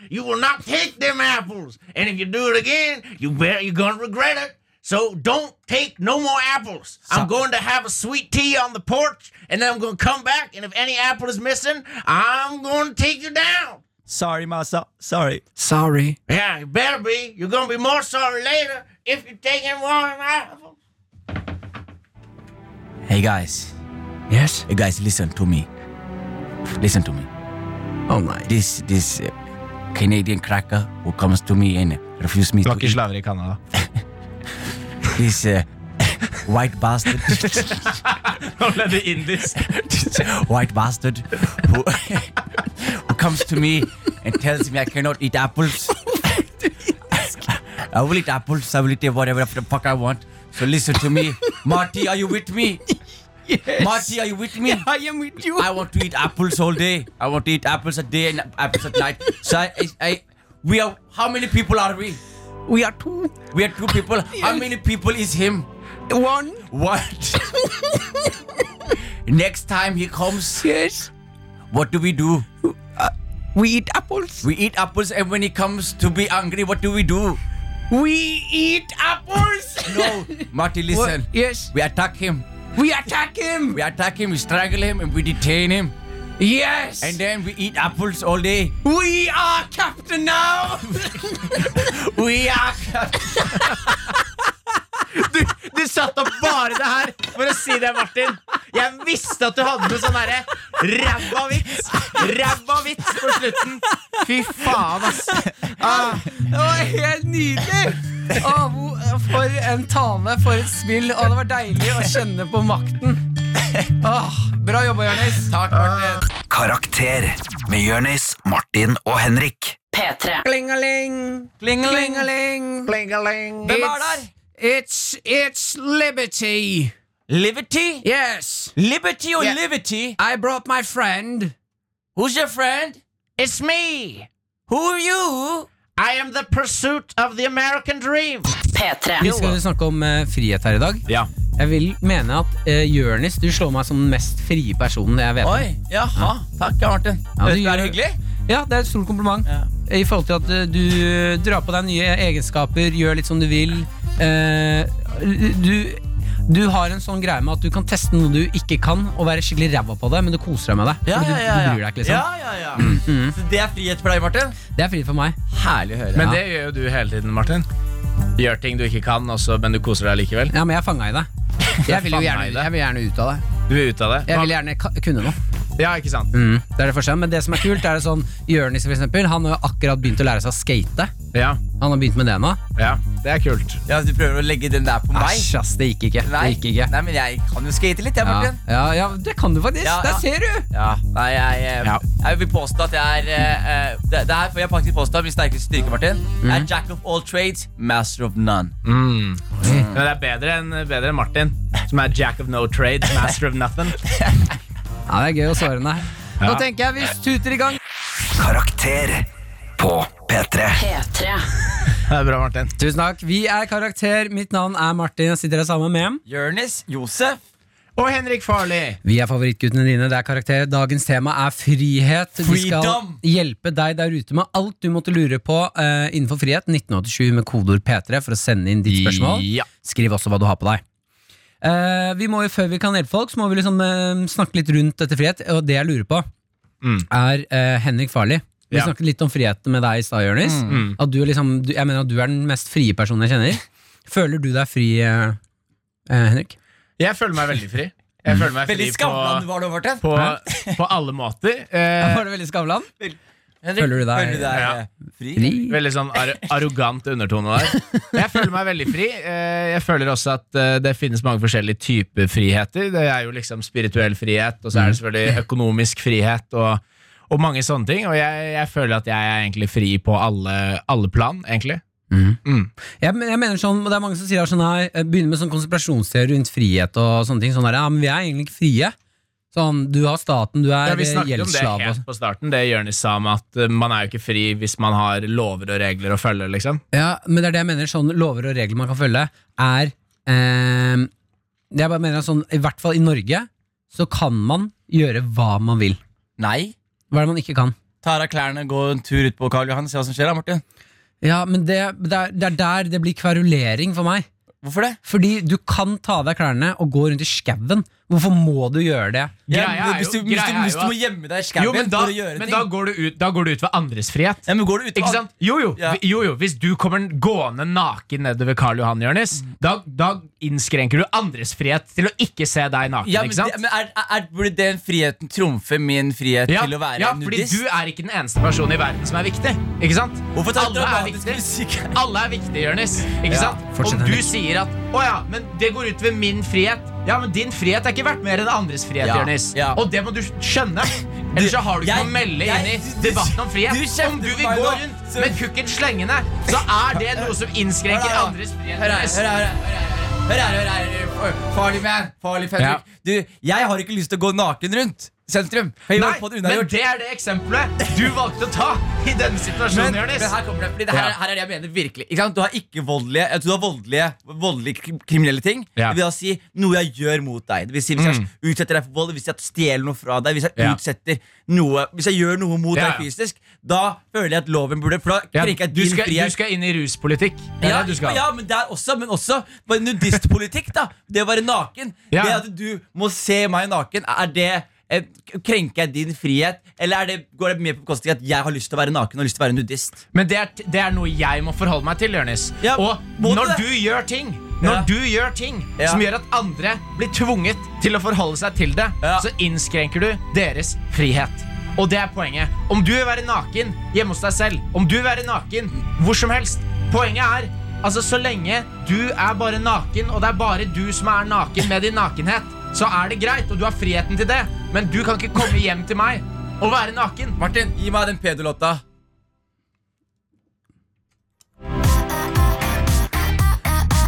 S6: You will not take them apples. And if you do it again, you bet you're gonna regret it. So don't take no more apples. I'm going to have a sweet tea on the porch, and then I'm gonna come back, and if any apple is missing, I'm gonna take you down.
S5: Sorry, massa. Sorry.
S4: Sorry.
S6: Yeah, you better be. You're gonna be more sorry later if you take any more apples.
S5: Hey, guys.
S4: Yes.
S5: You guys, listen to me. Listen to me.
S4: Oh, nei.
S5: This, this, uh, Canadian cracker who comes to me and refuse me
S3: Det
S5: to
S3: var ikke
S5: eat
S3: slaver i Canada.
S5: this uh, white bastard.
S3: Nå ble det indisk.
S5: white bastard who, who comes to me and tells me I cannot eat apples. I will eat apples. I will eat whatever the fuck I want. So listen to me, Marty. Are you with me? Marty, are you with me?
S4: I am with you.
S5: I want to eat apples all day. I want to eat apples at day and apples at night. So I, I, I we are. How many people are we?
S4: We are two.
S5: We are two people. How many people is him?
S4: One.
S5: What? Next time he comes,
S4: Yes.
S5: what do we do?
S4: We eat apples.
S5: We eat apples, and when he comes to be angry, what do we do?
S4: We eat apples.
S5: No, Marty, listen.
S4: Yes.
S5: We attack him.
S4: We attack him.
S5: We attack him. We strangle him, and we detain him.
S4: Yes.
S5: And then we eat apples all day.
S4: we are captain now.
S5: We are.
S3: Du satte opp bare det her for å si det, Martin. Jeg visste at du hadde noe sånn derre ræva vits. Ræva vits på slutten. Fy faen, ass.
S4: Det var helt nydelig! Å, hvor- for en tale, for et spill. Å, det var deilig å kjenne på makten. Åh, bra jobba, Jonis.
S5: Takk, Martin.
S1: Karakter med Jørnis, Martin og Henrik.
S7: P3.
S4: Klingeling,
S5: Klingeling.
S4: klingeling.
S3: Plingeling.
S5: Hvem er der?
S4: It's, it's liberty.
S5: Liberty?
S4: Yes,
S5: Liberty or
S4: Yeah.
S5: Liberty?
S4: I brought my friend.
S5: Who's your friend?
S6: It's me.
S5: Who are you?
S6: I am the pursuit of the American dream.
S7: P3.
S4: Vi skal jo snakke om eh, frihet her i dag.
S3: Ja.
S4: Jeg vil mene at uh, Jonis, du slår meg som den mest frie personen jeg vet om.
S5: Oi, jaha. Takk, ja, Martin.
S4: Ja,
S5: Vet
S4: du
S5: du hva er
S4: gjør-
S5: hyggelig?
S4: Ja, det er et stort kompliment.
S5: Ja.
S4: I forhold til at eh, du drar på deg nye egenskaper, gjør litt som du vil. Eh, du, du har en sånn greie med at du kan teste noe du ikke kan, og være skikkelig ræva på det, men du koser deg med det. Fordi du, du bryr deg ikke,
S5: ja,
S4: liksom.
S5: ja, ja. Så det er frihet for deg, Martin?
S4: Det er frihet for meg.
S5: Herlig å høre.
S3: Men det gjør jo du hele tiden, Martin. Gjør ting du ikke kan, også, men du koser deg likevel.
S4: Ja, men jeg er fanga i det. Jeg vil jo
S3: fanget
S4: gjerne,
S3: i det.
S4: jeg vil gjerne ut av det.
S3: Du er ute av det.
S4: Jeg vil gjerne ka- kunne noe.
S3: Ja, ikke sant?
S4: Det er det første. Men det som er kult, er det sånn Jonis, for eksempel, han har jo akkurat begynt å lære seg å skate.
S3: Ja,
S4: Han har begynt med det nå.
S3: ja. Det er kult.
S5: Ja, Du prøver å legge den der på meg?
S4: Æsj, ass, det gikk ikke. Det
S5: Nei.
S4: gikk ikke.
S5: Nei, men jeg kan jo skate litt, jeg,
S4: Ja,
S5: Martin.
S4: ja, ja, det kan du faktisk.
S5: Ja, ja.
S4: Der ser du!
S5: Ja. Nei, jeg, eh,
S3: Ja.
S5: jeg vil påstå at jeg er eh, eh, det, det her får jeg faktisk påstå er min sterkeste styrke, Martin. Jeg
S4: Mm.
S5: er jack of all trades, master of none.
S3: Mm. Men det er bedre enn bedre enn Martin, som er jack of no trade, master of nothing.
S4: Ja, det er gøy å svare nei. Nå
S3: Ja.
S4: tenker jeg vi tuter i gang.
S1: Karakter på P3.
S7: P3.
S3: Det er bra, Martin.
S4: Tusen takk. Vi er Karakter. Mitt navn er Martin. Jeg sitter her sammen med
S5: Jonis, Josef.
S3: Og Henrik Farley.
S4: Vi er favorittguttene dine. Det er Karakter. Dagens tema er frihet. Vi skal
S5: Freedom.
S4: hjelpe deg der ute med alt du måtte lure på eh, innenfor frihet. 1987 med kodeord P3 for å sende inn ditt spørsmål.
S3: Ja.
S4: Skriv også hva du har på deg. Eh, vi må jo, Før vi kan hjelpe folk, så må vi liksom eh, snakke litt rundt dette frihet. Og det jeg lurer på,
S3: Mm.
S4: er eh, Henrik Farli. Vi
S3: Ja. Mm.
S4: snakket litt om frihet med deg i stad, Jonis. At du er liksom, du, jeg mener at du er den mest frie personen jeg kjenner. Føler du deg fri, eh, eh, Henrik?
S3: Jeg føler meg veldig fri. Jeg føler meg fri
S5: Veldig
S3: på,
S5: skamland var du, Martin.
S3: på, på alle måter. Eh,
S4: Var det veldig Skavlan?
S5: Henrik,
S4: Føler du deg-
S3: Ja.
S5: eh, fri?
S4: Fri?
S3: Veldig sånn ar arrogant undertone der. Jeg føler meg veldig fri. Eh, Jeg føler også at eh, det finnes mange forskjellige typer friheter. Det er jo liksom spirituell frihet, og
S5: Mm.
S3: så er det selvfølgelig økonomisk frihet. og og mange sånne ting, og jeg, jeg føler at jeg er egentlig fri på alle, alle plan, egentlig.
S4: Jeg, men- jeg mener sånn, og Det er mange som sier sånn her, eh, begynner med sånn konspirasjonsteori rundt frihet og sånne ting. Sånn der, ja, men vi er egentlig ikke frie. Sånn, Du har staten, du er
S3: Ja,
S4: eh,
S3: vi snakket om det
S4: gjeldsslave. og-
S3: helt på starten, det Jonis sa om at eh, man er jo ikke fri hvis man har lover og regler å følge, liksom.
S4: Ja, men det er det jeg mener. Sånn lover og regler man kan følge, er eh, Jeg bare mener at sånn, i hvert fall i Norge, så kan man gjøre hva man vil.
S5: Nei.
S4: Hva er det man ikke kan?
S5: Tar av klærne, går en tur ut på Karl Johan, se hva som skjer da, Martin.
S4: Ja, men det, det, er, det er der det blir kverulering for meg.
S5: Hvorfor det?
S4: Fordi du kan ta av deg klærne og gå rundt i skauen Hvorfor må du gjøre det?
S5: Ja,
S3: Greia
S5: men
S3: er
S5: hvis
S3: jo-
S5: du, hvis
S3: greia
S5: du,
S3: er
S5: hvis
S3: jo
S5: du må
S3: at-
S5: gjemme deg i
S3: Jo,
S5: skauen
S3: men da,
S5: for å gjøre
S3: men
S5: ting
S3: da går, du ut, da går du ut ved andres frihet.
S5: ja, men går du ut
S3: Ikke sant? Jo, jo.
S5: Ja.
S3: jo, jo. Hvis du kommer gående naken nedover Karl Johan, Jonis, da, da innskrenker du andres frihet til å ikke se deg naken.
S5: Ja, men,
S3: ikke sant?
S5: det- men er, er, er, Burde den friheten trumfe min frihet
S3: Ja,
S5: til å være
S3: ja, fordi
S5: nudist?
S3: du er ikke den eneste personen i verden som er viktig. Ikke sant?
S5: Hvorfor tar du
S3: Alle er
S5: dramatisk
S3: viktig.
S5: musikk?
S3: Alle er viktige, Jonis. Ikke
S5: Ja,
S3: sant?
S4: fortsett,
S3: Om du
S4: Henrik.
S3: sier at 'Å ja, men det går ut ved min frihet', ja, men din frihet er ikke verdt mer enn andres frihet,
S5: Ja,
S3: Jonis.
S5: ja.
S3: Og det må du skjønne. Ellers så har du ikke
S5: jeg-
S3: noe å melde
S5: jeg-
S3: inn i
S5: du- du-
S3: debatten om frihet.
S5: du kjefter
S3: om du
S5: på
S3: vil
S5: meg
S3: gå
S5: nå,
S3: rundt
S5: så-
S3: med kukken slengende, så er det noe som innskrenker
S5: Hør her, da.
S3: andres frihet.
S5: Hør her,
S3: Jonis.
S5: hør her, hør her, hør her, hør her, hør her. Farlig man, farlig Fredrik. Du, jeg har ikke lyst til å gå naken rundt sentrum. Jeg har
S3: Nei,
S5: gjort på det
S3: men
S5: unnagjort.
S3: det er det eksempelet du valgte å ta i denne situasjonen,
S5: Men, men
S3: Jonis.
S5: her kommer det, fordi det her,
S3: Ja.
S5: her er det jeg mener virkelig. Ikke sant? Du har ikke voldelige, jeg tror du har voldelige, voldelige krim- kriminelle ting.
S3: Ja. Mm.
S5: Det vil da si noe jeg gjør mot deg. Det vil si hvis jeg utsetter deg for vold, hvis jeg stjeler noe fra deg, hvis jeg
S3: Ja.
S5: utsetter noe, hvis jeg gjør noe mot
S3: Ja, ja.
S5: deg fysisk, da føler jeg at loven burde, for da
S3: Ja,
S5: krenker jeg
S3: du,
S5: din
S3: skal,
S5: frihet.
S3: du skal inn i ruspolitikk. Det er
S5: Ja,
S3: det du skal.
S5: ja, men det er også, men også bare nudistpolitikk, da. Det å være naken.
S3: Ja.
S5: Det at du må se meg naken, er det eh, Krenker jeg din frihet, eller er det, går det mer på bekostning av at jeg har lyst til å være naken og lyst til å være nudist?
S3: Men det er, det er noe jeg må forholde meg til, Jonis.
S5: Ja,
S3: og
S5: må du
S3: når
S5: det?
S3: du gjør ting når
S5: Ja.
S3: du gjør ting
S5: Ja.
S3: som gjør at andre blir tvunget til å forholde seg til det,
S5: Ja.
S3: så innskrenker du deres frihet. Og det er poenget. Om du vil være naken hjemme hos deg selv, om du vil være naken hvor som helst Poenget er altså så lenge du er bare naken, og det er bare du som er naken med din nakenhet, så er det greit, og du har friheten til det. Men du kan ikke komme hjem til meg og være naken.
S5: Martin, gi meg den pedolåta.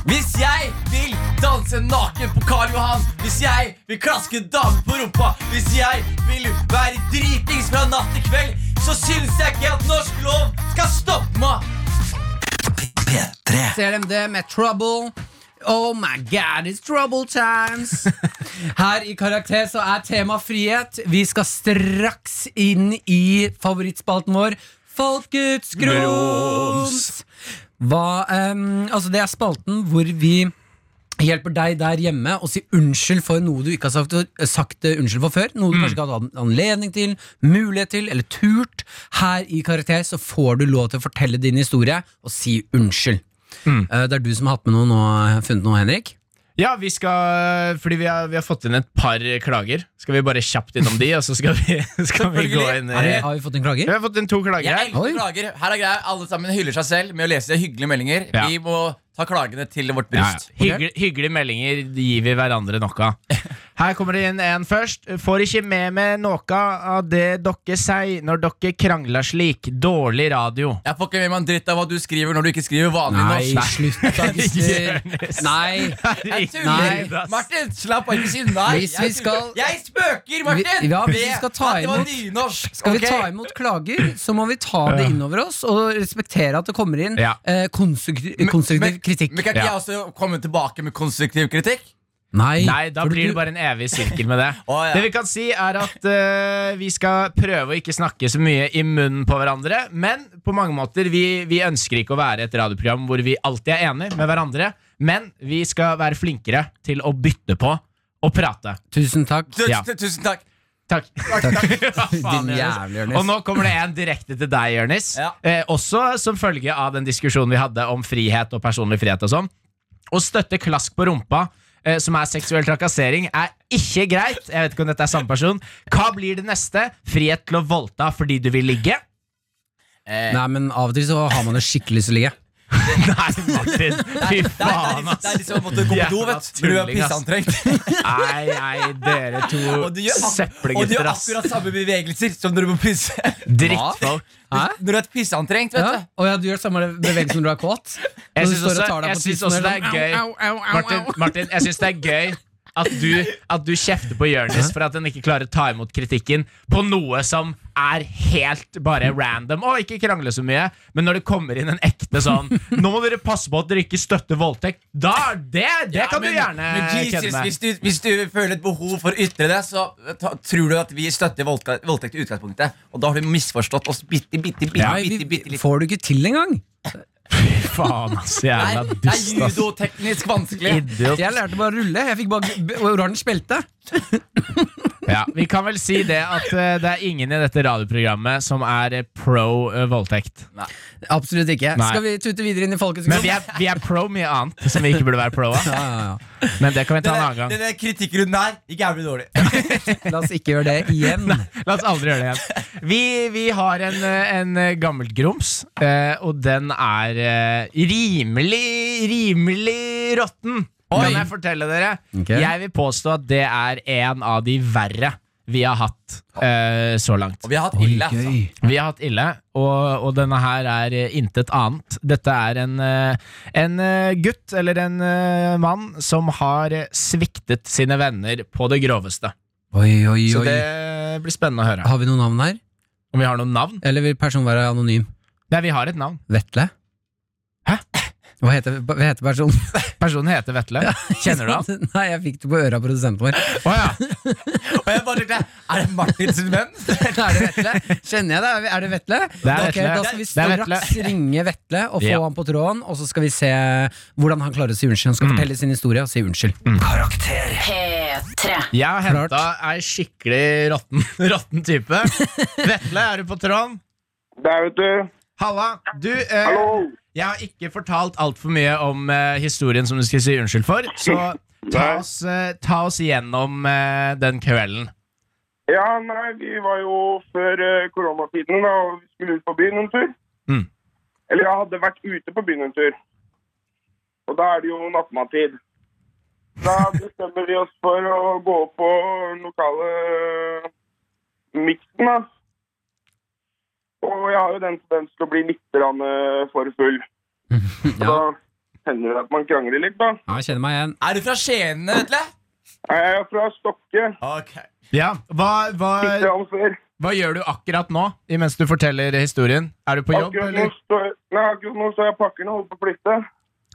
S5: Hvis jeg vil danse naken på Karl Johan, hvis jeg vil klaske damer på rumpa, hvis jeg vil være dritings fra natt til kveld, så syns jeg ikke at norsk lov skal stoppe meg.
S1: P3
S4: CRMD med Trouble. Oh my god, it's trouble times! Her i Karakter så er tema frihet. Vi skal straks inn i favorittspalten vår, Folkets grums! Hva, em, altså det er spalten hvor vi hjelper deg der hjemme å si unnskyld for noe du ikke har sagt, sagt eh, unnskyld for før. Noe du kanskje ikke har hatt anledning til, mulighet til eller turt. Her i Karakter så får du lov til å fortelle din historie og si unnskyld. Eh, Det er du som har hatt med noe nå, eh, funnet noe, Henrik.
S3: Ja, vi skal Fordi vi har, vi har fått inn et par klager. Skal vi bare kjapt innom de, og så skal vi, skal vi gå
S5: Selvfølgelig.
S3: inn
S4: Er det,
S3: i
S4: har vi fått en klager?
S3: Vi har fått inn to klager
S5: Jeg
S3: her.
S5: elsker
S4: Oi.
S5: klager. Her er greia. Alle sammen hyller seg selv med å lese hyggelige meldinger.
S3: Ja.
S5: Vi må ta klagene til vårt
S3: Ja,
S5: bryst.
S3: ja. Hyggel, hyggelige meldinger de gir vi hverandre nok av. Her kommer det inn en først. Får ikke med meg noe av det dere sier når dere krangler slik. Dårlig radio.
S5: Jeg får ikke med meg en dritt av hva du skriver når du ikke skriver vanlig
S4: Nei,
S5: norsk.
S4: slutt da, Christer. Nei.
S5: Jeg tuller.
S4: Nei.
S5: Martin, slapp av. Ikke si nei.
S4: Hvis
S5: Jeg
S4: vi skal-
S5: tuller. Jeg spøker, Martin!
S4: Vi- ja, hvis vi
S5: Det-
S4: skal ta
S5: at Det var
S4: imot-
S5: nynorsk.
S4: Skal
S5: ok?
S4: vi ta imot klager, så må vi ta det innover oss og respektere at det kommer inn
S3: Ja.
S4: eh, konstruktiv, konstruktiv kritikk.
S5: Men kan ikke
S3: Ja.
S5: jeg også komme tilbake med konstruktiv kritikk?
S4: Nei,
S3: Nei, da
S4: for
S3: blir
S4: du-
S3: det bare en evig sirkel med det.
S5: Å, ja.
S3: Det vi kan si, er at eh, vi skal prøve å ikke snakke så mye i munnen på hverandre. Men på mange måter, vi, vi ønsker ikke å være et radioprogram hvor vi alltid er enige med hverandre. Men vi skal være flinkere til å bytte på og prate.
S4: Tusen takk.
S5: Tu-
S3: Ja.
S5: tu- Tusen takk.
S3: Takk. Hva faen,
S4: Din
S3: Jonis?
S4: jævlig, Jonis.
S3: Og nå kommer det en direkte til deg, Jonis.
S5: Ja.
S3: Eh, også som følge av den diskusjonen vi hadde om frihet og personlig frihet og sånn. Å støtte klask på rumpa, eh, som er seksuell trakassering, er ikke greit. Jeg vet ikke om dette er samme person. Hva blir det neste? Frihet til å voldta fordi du vil ligge?
S4: Nei, men av og til så har man jo skikkelig lyst til å ligge.
S3: Nei, Martin. Fy
S5: Det er,
S3: faen,
S5: det er, det
S3: ass.
S5: er liksom å måtte gå på do,
S3: Jævla
S5: vet du. Når du er
S3: tulling, ass.
S5: pisseantrengt.
S3: Nei, nei, dere to
S5: Og du gjør ak- og du
S3: søppelgutter,
S5: gjør
S3: ass.
S5: akkurat samme bevegelser som når du må pisse.
S3: Drittfolk.
S4: Hæ?
S5: Når du er pisseantrengt, vet
S4: Ja?
S5: du.
S4: Og ja, du gjør samme bevegelse når du er kåt?
S3: Jeg
S4: Når du
S3: syns
S4: står og
S3: også,
S4: tar deg
S3: jeg
S4: på
S3: synes
S4: tissen,
S3: også
S4: og
S3: det
S4: er sånn,
S3: er gøy Martin, Martin jeg syns det er gøy at du, at du kjefter på Jonis for at han ikke klarer å ta imot kritikken på noe som er helt bare random. Og ikke krangle så mye, men når det kommer inn en ekte sånn Nå må dere passe på at dere ikke støtter voldtekt. Da er det, det
S5: Ja,
S3: kan
S5: men-
S3: du gjerne
S5: men Jesus,
S3: kødde med.
S5: Hvis du, hvis du føler et behov for å ytre det, så ta, tror du at vi støtter voldta- voldtekt i utgangspunktet. Og da har du misforstått oss bitte, bitte, bitte,
S4: Nei,
S5: bitte, bitte,
S4: vi,
S5: litt.
S4: får du ikke til engang?
S3: faen, altså. Jævla
S5: Nei, det er
S3: dust, ass.
S5: judoteknisk vanskelig.
S3: Idiot.
S4: Jeg lærte bare å rulle. Jeg fikk bare b- oransje belte.
S3: Ja, vi kan vel si det at eh, det er ingen i dette radioprogrammet som er eh, pro eh, voldtekt.
S4: Absolutt ikke.
S3: Nei.
S4: Skal vi tute videre inn i folkets
S3: Men vi er, vi er pro mye annet som vi ikke burde være pro av.
S4: ja, ja, ja.
S3: Men det kan vi ta en
S5: Den
S3: annen gang.
S5: der kritikkrunden her gikk jævlig dårlig.
S4: La oss ikke gjøre det igjen.
S3: La oss aldri gjøre det igjen. Vi, vi har en, eh, en eh, gammelt grums, eh, og den er eh, rimelig, rimelig råtten. Kan jeg fortelle dere?
S4: Ok.
S3: Jeg vil påstå at det er en av de verre vi har hatt eh, så langt.
S5: Og vi har hatt ille, altså.
S3: Vi har hatt ille, og, og denne her er eh, intet annet. Dette er en, eh, en eh, gutt, eller en eh, mann, som har eh, sviktet sine venner på det groveste.
S4: Oi, oi,
S3: Så
S4: oi.
S3: det blir spennende å høre.
S4: Har vi noen navn her?
S3: Om vi har noen navn?
S4: Eller vil personen være anonym?
S3: Nei, vi har et navn.
S4: Vetle?
S3: Hæ?
S4: Hva heter, hva heter personen?
S3: Personen heter Vetle. Kjenner du han?
S4: Nei, jeg fikk det på øra av produsenten vår.
S3: Å ja.
S5: Og jeg bare tenkte, er det Martin sin venn?
S4: Er det Vetle? Kjenner jeg det? Er det Vetle?
S3: Det er
S4: Ok,
S3: Vetle.
S4: Da skal vi
S3: Det er Vetle.
S4: straks ringe Vetle og få
S3: Ja.
S4: han på tråden, og så skal vi se hvordan han klarer å si unnskyld. Han skal fortelle sin historie og si unnskyld.
S1: Karakter.
S7: P3.
S3: Jeg har
S4: Klart.
S3: henta ei skikkelig råtten, råtten type. Vetle, er du på tråden?
S8: Der, vet du.
S3: Halla. Du, eh,
S8: Hallo.
S3: jeg har ikke fortalt altfor mye om eh, historien som du skal si unnskyld for, så ta
S8: Nei.
S3: oss, eh, ta oss igjennom eh, den kvelden.
S8: Ja, nei, vi var jo før eh, koronatiden, da, og vi skulle ut på byen en tur.
S3: Mm.
S8: Eller jeg hadde vært ute på byen en tur. Og da er det jo nattmattid. Da bestemmer vi oss for å gå opp på den lokale eh, miksen, da. Og jeg har jo den tendens til å bli litt grann, eh, for full. Så
S4: Ja.
S8: Da hender det at man krangler litt, da.
S4: Ja, jeg kjenner meg igjen.
S5: Er du fra Skien, Vetle?
S8: Jeg er fra Stokke.
S5: Ok.
S3: Ja, hva,
S8: Litt
S3: hva,
S8: grann før.
S3: hva gjør du akkurat nå, imens du forteller historien? Er du på jobb,
S8: Akkurat nå
S3: eller?
S8: står jeg- nei, akkurat nå står jeg og pakker den og holder på å flytte.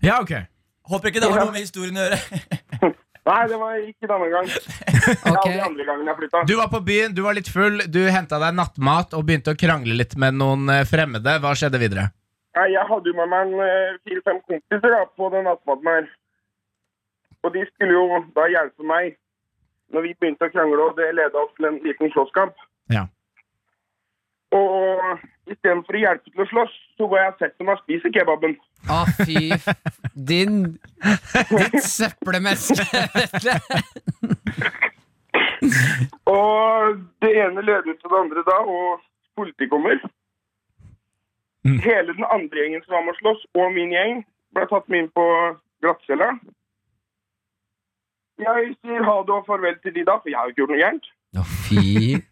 S3: Ja, ok.
S5: Håper ikke det har noe med historien å gjøre.
S8: Nei, det var ikke denne gang. Det er alle de andre gangene jeg flytta.
S3: Du var på byen, du var litt full, du henta deg nattmat og begynte å krangle litt med noen eh, fremmede. Hva skjedde videre?
S8: Nei, Jeg hadde jo med meg en, eh, fire-fem kompiser da, på den nattmaten her. Og de skulle jo da hjelpe meg når vi begynte å krangle, og det leda oss til en liten slåsskamp.
S3: Ja.
S8: Og istedenfor å hjelpe til å slåss, så går jeg og setter meg og spiser kebaben.
S4: Å, fy f- Din Ditt søppelmenneske, Vetle.
S8: Og det ene leder til det andre da, og politiet kommer. Hele den andre gjengen som var med å slåss, og min gjeng, ble tatt med inn på glattcella. Jeg sier ha det og farvel til de da, for jeg har jo ikke gjort noe gærent.
S4: Å, fy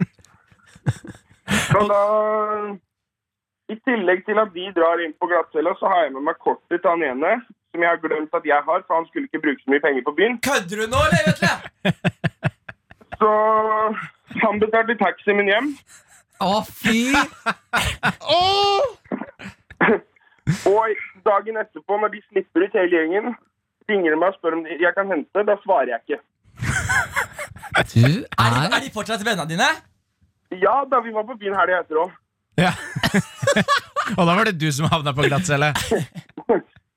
S8: Så da, i tillegg til at de drar inn på glattcella, så har jeg med meg kortet til han ene, som jeg har glemt at jeg har, for han skulle ikke bruke så mye penger på byen.
S5: Kødder du nå, eller, Vetle?
S8: Så han betalte taxi min hjem.
S4: Å, fy!
S8: Og dagen etterpå, når de slipper ut hele gjengen, ringer de meg og spør om jeg kan hente. Da svarer jeg ikke.
S4: Du
S5: Er de,
S4: er
S5: er de fortsatt vennene dine?
S8: Ja, da vi var på byen helga etter òg.
S3: Ja. og da var det du som havna på glattcelle.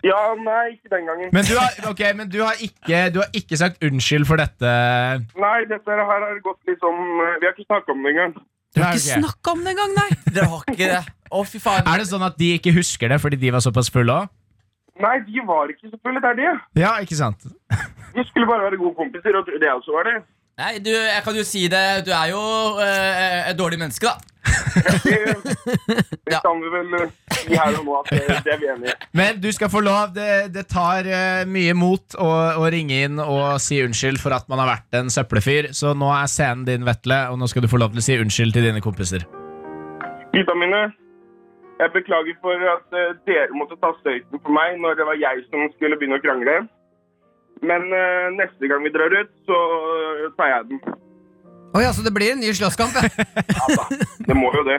S8: Ja, nei, ikke den gangen.
S3: Men, du har, ok, men du, har ikke, du har ikke sagt unnskyld for dette.
S8: Nei, dette her har gått litt sånn eh, Vi har ikke snakka om det engang.
S4: Du har
S3: Nei,
S4: ikke
S3: ok.
S4: snakka om det engang, nei!
S5: Dere har ikke det. Å, fy faen.
S3: Er det sånn at de ikke husker det fordi de var såpass fulle òg?
S8: Nei, de var ikke selvfølgelig det er det.
S3: Ja, ikke sant?
S8: De skulle bare være gode kompiser, og det også var det.
S5: Nei, du, jeg kan jo si det. Du er jo eh, et dårlig menneske, da.
S8: Det, det kan vi vel eh, si her og nå at det, det er vi enige i.
S3: Men du skal få lov. Det, det tar eh, mye mot å, å ringe inn og si unnskyld for at man har vært en søppelfyr, så nå er scenen din, Vetle, og nå skal du få lov til å si unnskyld til dine kompiser.
S8: Gutta mine, jeg beklager for at eh, dere måtte ta støyten for meg når det var jeg som skulle begynne å krangle. Men eh, neste gang vi drar ut, så eh, tar jeg den.
S4: Å ja, så det blir en ny slåsskamp, ja.
S8: Altså, Det må jo det.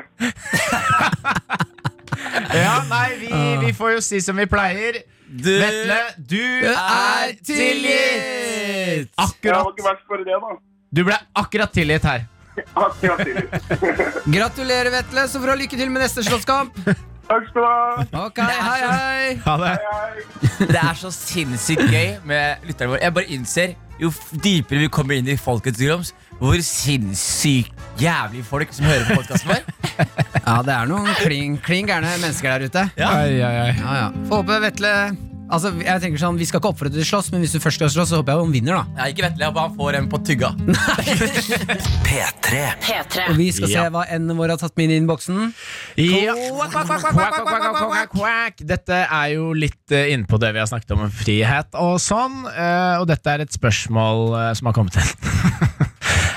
S3: Ja, nei, vi, vi får jo si som vi pleier.
S5: Du
S3: Vetle, Ah. du
S4: er
S3: er tilgitt!
S8: Jeg var
S3: Akkurat.
S8: ikke verst for det, da.
S3: Du ble akkurat tilgitt her.
S8: Akkurat tidlig.
S4: Gratulerer, Vetle, så får du ha lykke til med neste slåsskamp.
S8: Takk skal du ha.
S4: Ok, hei, hei.
S3: Ha det.
S8: Hei.
S5: Det er så sinnssykt gøy med lytterne våre. Jeg bare innser jo f- dypere vi kommer inn i folkets groms, hvor sinnssykt jævlig folk som hører på podkasten vår.
S4: Ja, det er noen kling, kling gærne mennesker der ute.
S3: Ai, ai, ai.
S4: Ja, ja. Får håpe Vetle Altså, jeg tenker sånn, Vi skal ikke oppfordre til slåss, men hvis du først skal slåss, så håper jeg hun vinner. da
S5: Nei, ikke Vetle, jeg bare får en på tygga.
S1: P3.
S7: P3.
S4: Og vi skal se hva endene våre har tatt med inn i innboksen.
S3: Ja. Quack, quack, quack, quack, quack, quack, quack, quack. Dette er jo litt eh, innpå det vi har snakket om, om frihet og sånn. eh, Og dette er et spørsmål eh, som har kommet inn.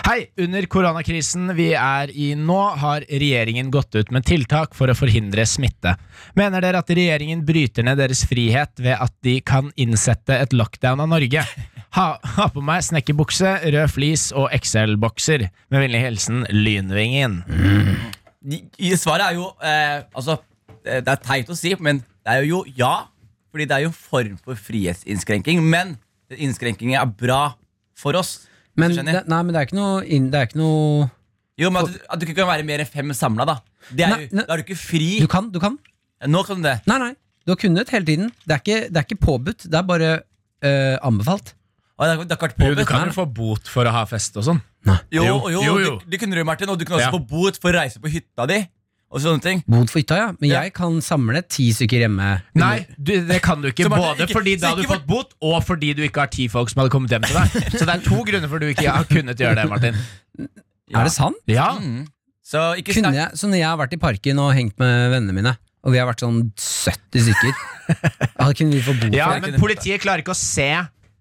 S3: Hei! Under koronakrisen vi er i nå, har regjeringen gått ut med tiltak for å forhindre smitte. Mener dere at regjeringen bryter ned deres frihet ved at de kan innsette et lockdown av Norge? Ha, ha på meg snekkerbukse, rød flis og XL-bokser. Med vennlig hilsen Lynvingen.
S5: I- i- Svaret er jo eh, Altså, eh, det er teit å si, men det er jo ja. Fordi det er jo en form for frihetsinnskrenking. Men den innskrenkingen er bra for oss. hvis
S4: Men,
S5: du skjønner.
S4: det, nei, men det er ikke noe, inn, det er ikke noe
S5: jo, men at, du- at du ikke kan være mer enn fem samla, da. Det er
S4: Nei,
S5: jo,
S4: nei.
S5: da er du ikke fri.
S4: Du kan, du kan.
S5: Nå kan du det.
S4: Nei, nei. Du har kunnet hele tiden. Det er ikke, det er ikke påbudt. Det er bare øh, anbefalt.
S5: Og det har- det har ikke vært
S3: Jo, du
S5: påbudt.
S3: kan jo få bot for å ha fest og sånn.
S5: Jo,
S3: Jo,
S5: og jo,
S3: jo, jo.
S5: Du, du kunne det, Martin, og du kunne
S3: Ja.
S5: også få bot for å reise på hytta di. Og sånne ting
S4: Bot for hytta, ja. Men
S5: Ja.
S4: jeg kan samle ti stykker hjemme.
S3: Nei, du, det kan du ikke.
S5: Så Martin,
S3: Både
S5: ikke-
S3: fordi
S5: så
S3: da hadde du
S5: ikke
S3: fått bot, og fordi du ikke har ti folk som hadde kommet hjem til deg. Så det er to grunner for du ikke har kunnet gjøre det, Martin.
S4: Er det sant?
S3: Ja,
S5: Mm. Så ikke
S4: Kunne
S5: snakk
S4: jeg, så når jeg har vært i parken og hengt med vennene mine, og vi har vært sånn 70 stykker ja, Kunne vi få bot for
S3: ja
S4: det?
S3: men politiet klarer ikke å se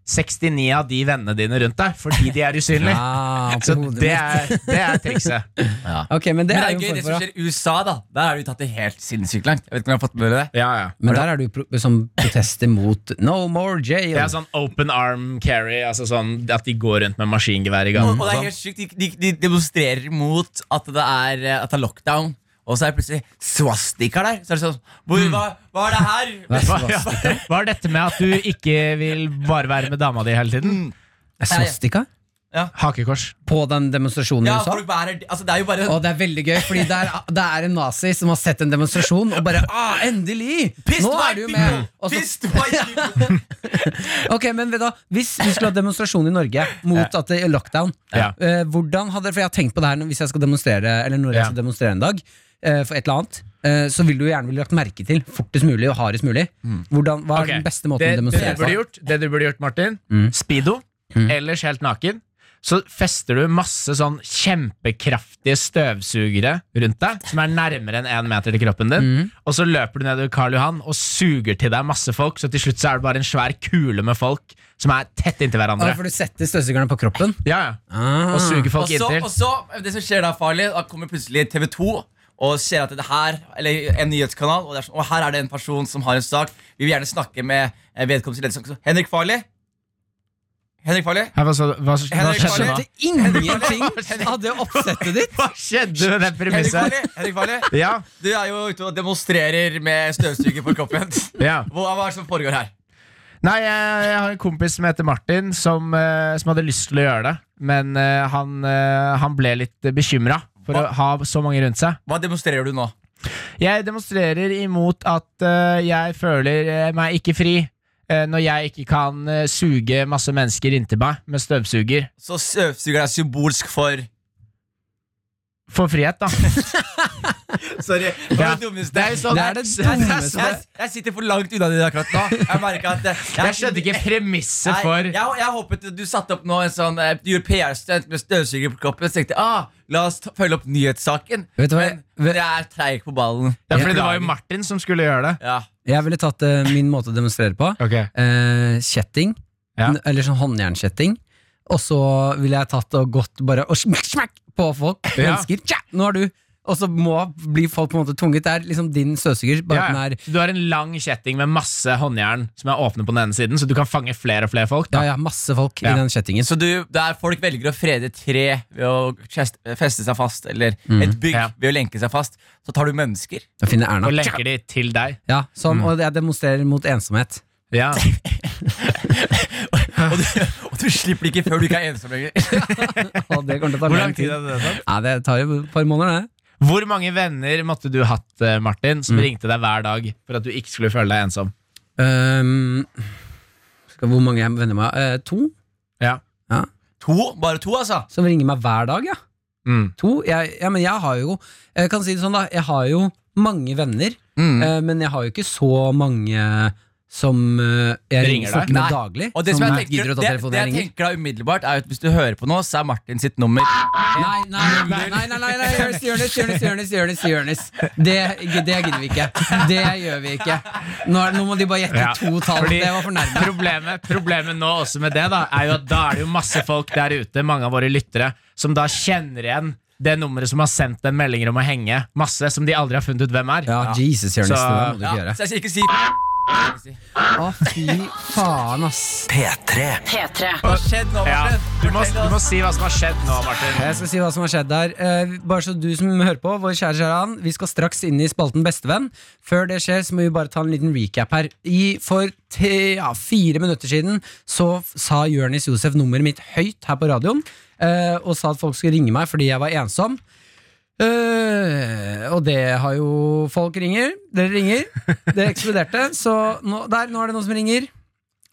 S3: 69 av de vennene dine rundt deg fordi de er usynlige.
S4: Ah, på
S3: Så det
S4: hodet mitt.
S3: er, det er trikset.
S4: Ok, men det
S5: Men
S4: er jo
S5: det er gøy,
S4: en
S5: det
S4: form
S5: som
S4: for
S5: skjer i USA, da. Der har vi tatt det helt sinnssykt langt. Jeg vet ikke om jeg har fått med dere det
S3: Ja, ja.
S4: Men der er du pro som protester mot No more jail.
S3: Det er sånn open arm carry, altså sånn at de går rundt med maskingevær i
S5: Og,
S3: gangen.
S5: og
S4: altså.
S5: det er helt sykt, de, de, de demonstrerer mot at det er, eh, at det er lockdown. Og så er det plutselig swastika der. Så er det sånn hvor,
S4: Hmm.
S5: hva, hva er det her?
S3: Hva, ja. Hva er dette med at du ikke vil bare være med dama di hele tiden?
S4: Er Swastika?
S3: Hakekors.
S4: På den demonstrasjonen
S5: Ja,
S4: i USA?
S5: folk bærer Altså, det er jo bare
S4: Og det er veldig gøy, fordi det er, det er en nazi som har sett en demonstrasjon og bare ah, Endelig!
S5: Pissed
S4: Nå
S5: white
S4: er du jo
S5: people!
S4: med! Og så,
S5: Pissed white people!
S4: ok, men vet du, hva, Hvis vi skulle ha demonstrasjon i Norge mot at det er lockdown
S3: Ja.
S4: eh, Hvordan hadde, For jeg har tenkt på det her når- hvis jeg skal demonstrere Eller når jeg
S3: Ja.
S4: skal demonstrere en dag eh, for et eller annet. eh, Så vil du gjerne bli lagt merke til fortest mulig og hardest mulig. Hvordan,
S3: Mm.
S4: hva er
S3: Ok,
S4: den beste måten
S3: det,
S4: å demonstrere
S3: det du burde
S4: på? Mm.
S3: gjort, Det du burde gjort, Martin Speedo, ellers helt naken Så fester du masse sånn kjempekraftige støvsugere rundt deg Som er nærmere enn en meter til kroppen din
S4: Mm.
S3: Og så løper du nedover Karl Johan Og suger til deg masse folk Så til slutt så er det bare en svær kule med folk Som er tett inntil
S4: Ah,
S3: hverandre
S4: for du setter støvsugerne på kroppen?
S3: Ja, ja
S4: Ah.
S3: Og suger
S5: Og
S3: folk
S5: så, og
S3: inntil
S5: så, det som skjer da, farlig, da kommer plutselig TV 2 og ser at det her, eller en nyhetskanal, og, det er sånn, og her er det en person som har en sak. Vi vil gjerne snakke med eh, vedkommende ledelse. Så, Henrik Farley? Henrik Farley?
S3: Hei, hva, så, hva, hva
S5: Henrik,
S3: skjedde nå?
S5: Henrik,
S4: Ingenting av det oppsettet ditt!
S3: Hva skjedde med den
S5: Henrik
S3: premisset?
S5: Farley? Henrik Farley?
S3: Ja,
S5: Du er jo ute og demonstrerer med støvsuger på kroppen.
S3: ja
S5: Hva, hva er det som foregår her?
S3: Nei, jeg, jeg har en kompis som heter Martin, som, eh, som hadde lyst til å gjøre det. Men eh, han, eh, han ble litt bekymra for å ha så mange rundt seg.
S5: Hva demonstrerer du nå?
S3: Jeg demonstrerer imot at eh, jeg føler eh, meg ikke fri. eh, Når jeg ikke kan eh, suge masse mennesker inntil meg med støvsuger.
S5: Så støvsuger er symbolsk for
S3: For frihet, da.
S5: Sorry. Det var det dummeste.
S3: Det er jo sånn-
S4: Det er det
S3: det er sånn-
S4: dummeste.
S5: Jeg, jeg sitter for langt unna det akkurat nå. Jeg merker at eh,
S3: Jeg skjønte ikke premisset
S5: Nei,
S3: for
S5: jeg, jeg håpet du satte opp nå en sånn eh, Du gjorde PR-stunt med støvsuger på kroppen. Så tenkte jeg ah, la oss ta, følge opp nyhetssaken.
S4: Vet du hva, jeg-
S5: Men men jeg er treig på ballen.
S3: ja, fordi Det var jo Martin som skulle gjøre det.
S5: Ja.
S4: Jeg ville tatt eh, min måte å demonstrere på. Eh, kjetting.
S3: Ja.
S4: N- Eller sånn håndjernkjetting. Og så ville jeg tatt og gått bare og smakk, smakk på folk.
S3: Ja.
S4: Mennesker. Tja, nå er du Og så må bli folk på en måte tvunget. Det er liksom din støvsuger. Bare
S3: Ja, ja.
S4: at den er
S3: Du har en lang kjetting med masse håndjern som er åpne på den ene siden, så du kan fange flere og flere folk.
S4: ja,
S3: Da.
S4: ja, masse folk
S3: Ja.
S4: i den kjettingen.
S5: Så du, der folk velger å frede et tre ved å kjest- feste seg fast, eller et bygg
S3: Ja.
S5: ved å lenke seg fast, så tar du mennesker.
S4: Da finner
S3: Og
S4: Erna.
S3: lenker Mm. de til deg.
S4: Ja, som, Og jeg demonstrerer mot ensomhet.
S3: Ja.
S5: Og du, og du slipper det ikke før du ikke er ensom lenger.
S4: Og det kommer til å ta
S3: Hvor
S4: lang
S3: lang tid
S4: tid.
S3: hadde det tatt?
S4: Nei, det tar jo et par måneder, det.
S3: Hvor mange venner måtte du hatt, eh, Martin, som ringte deg hver dag for at du ikke skulle føle deg ensom?
S4: Ehm, skal, hvor mange jeg venner meg? Eh, to?
S3: Ja.
S4: Ja.
S5: To? Bare to, altså?
S4: Som ringer meg hver dag, ja.
S3: Mm.
S4: To? Jeg, ja, men jeg har jo Jeg kan si det sånn, da. Jeg har jo mange venner,
S5: Mm.
S4: eh, men jeg har jo ikke så mange som eh, jeg
S3: Ringer
S4: ringer,
S3: deg?
S4: snakker med daglig.
S5: Og det som jeg
S4: gidder
S5: tenker,
S4: å ta
S5: det,
S4: telefonen
S5: det
S4: jeg
S5: jeg
S4: ringer.
S5: tenker da umiddelbart er at Hvis du hører på nå, så er Martin sitt nummer
S4: Nei, nei, nei, nei, nei, nei, nei Jonis, Jonis, Jonis, Jonis, Jonis, Jonis. Det, det gidder vi ikke. Det gjør vi ikke. Nå, er, nå må de bare gjette
S3: Ja,
S4: to tall.
S3: fordi-
S4: Det var for nærme.
S3: Problemet, problemet nå også med det da er jo at da er det jo masse folk der ute, mange av våre lyttere, som da kjenner igjen det nummeret som har sendt den meldinger om å henge. Masse som de aldri har funnet ut hvem er.
S4: Ja, Jesus, Jonis,
S3: Så-
S4: det der må du
S5: ja,
S4: ikke gjøre.
S5: Så jeg skal ikke si
S4: Å, fy faen, ass.
S1: P3.
S7: P3.
S5: Hva har skjedd nå,
S3: Ja,
S5: Martin?
S3: du, må,
S5: Fortell
S3: du må
S5: oss.
S3: si hva som har skjedd nå, Martin.
S4: Eh, Jeg skal si hva som har skjedd der. Eh, bare så du som hører på, vår kjære Sharan, vi skal straks inn i spalten Bestevenn. Før det skjer, så må vi bare ta en liten recap her. I, for te, ja, fire minutter siden så f- sa Jonis Josef nummeret mitt høyt her på radioen, eh, og sa at folk skulle ringe meg fordi jeg var ensom. Eh, og det har jo Folk ringer. Dere ringer. Det eksploderte. Så nå, der, nå er det noen som ringer.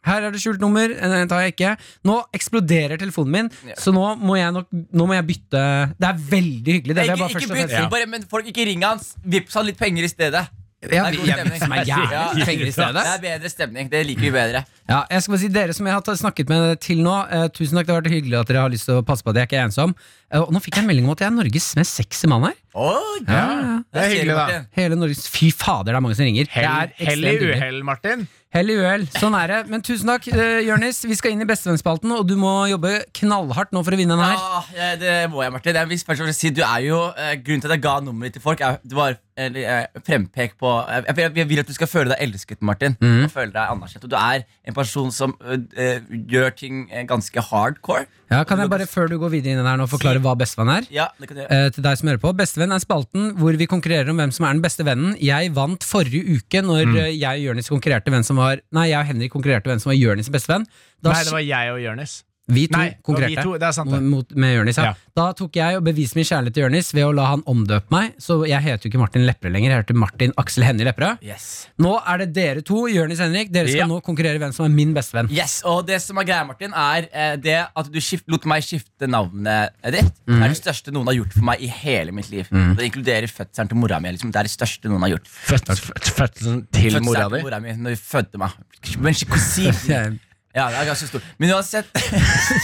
S4: Her er det skjult nummer. Eh, Den tar jeg ikke. Nå eksploderer telefonen min, så nå må jeg nok Nå må jeg bytte Det er veldig hyggelig. Det, vil jeg
S5: Ikke,
S4: bare
S5: ikke
S4: først og
S5: bytt,
S4: fremst si.
S5: bare, men folk ikke ringer hans. Vips han litt penger i stedet.
S4: Ja,
S5: Det er god
S4: jeg
S5: stemning.
S4: bytter meg jævlig
S5: Ja.
S4: penger i stedet.
S5: Det er bedre stemning. Det liker vi bedre.
S4: Ja, jeg skal bare si Dere som jeg har ta- snakket med til nå, eh, tusen takk. Det har vært hyggelig at dere har lyst til å passe på at jeg ikke er ensom. Eh, og nå fikk jeg en melding om at jeg er Norges mest sexy mann her.
S3: Det er hyggelig, da.
S4: Hele Norges, Fy fader, det er mange som ringer.
S3: Hell,
S4: Det
S3: hell
S4: er
S3: i
S4: ekstremt hyggelig.
S3: uhell, Martin.
S4: Hell i uhell. Sånn er det. Men tusen takk, uh, Jørnis. Vi skal inn i Bestevennsspalten, og du må jobbe knallhardt nå for å vinne den her.
S5: Ah, Ja, ja, det må jeg, Martin. Jeg vil først og fremst si, du er jo, eh, grunnen til at jeg ga nummeret ditt til folk, er, det var eller, eh, frempek på jeg, jeg, jeg vil at du skal føle deg elsket, Martin.
S4: Mhm.
S5: Og føle deg anerkjent. Og du er en person som eh, eh, gjør ting eh, ganske hardcore.
S4: Ja, kan jeg bare før du går videre inn i den her nå forklare hva bestevenn er?
S5: Ja, det kan du gjøre.
S4: Eh, til deg som hører på Bestevenn er spalten hvor vi konkurrerer om hvem som er den beste vennen. Jeg vant forrige uke når
S3: Mm.
S4: eh, jeg og Jørnis konkurrerte hvem som var Nei, jeg og Henrik konkurrerte hvem som var Jørnis' bestevenn. Da
S3: Nei, det var jeg og Jonis.
S4: Vi to
S3: Nei, det var
S4: konkurrerte
S3: vi to, det er sant det.
S4: mot, med Jørnis. Ja.
S3: Ja.
S4: Da tok jeg og beviste min kjærlighet til Jørnis ved å la han omdøpe meg. Så jeg heter jo ikke Martin Lepperød lenger, jeg heter Martin Aksel Hennie Lepperød.
S5: Yes.
S4: Nå er det dere to, Jørnis Henrik, dere skal
S5: Ja.
S4: nå konkurrere hvem som er min bestevenn.
S5: Yes, og det som er greia, Martin, er eh, det at du skift, lot meg skifte navnet ditt. Det
S3: Mhm.
S5: er det største noen har gjort for meg i hele mitt liv. Det inkluderer fødselen til mora mi. Liksom. Det er det største noen har gjort.
S3: Fødselen til
S5: Fødselen
S3: mora di.
S5: mora mi når hun fødte meg. Men ikke kusinen.
S4: Jeg-
S5: Ja, det er ganske stor. Men uansett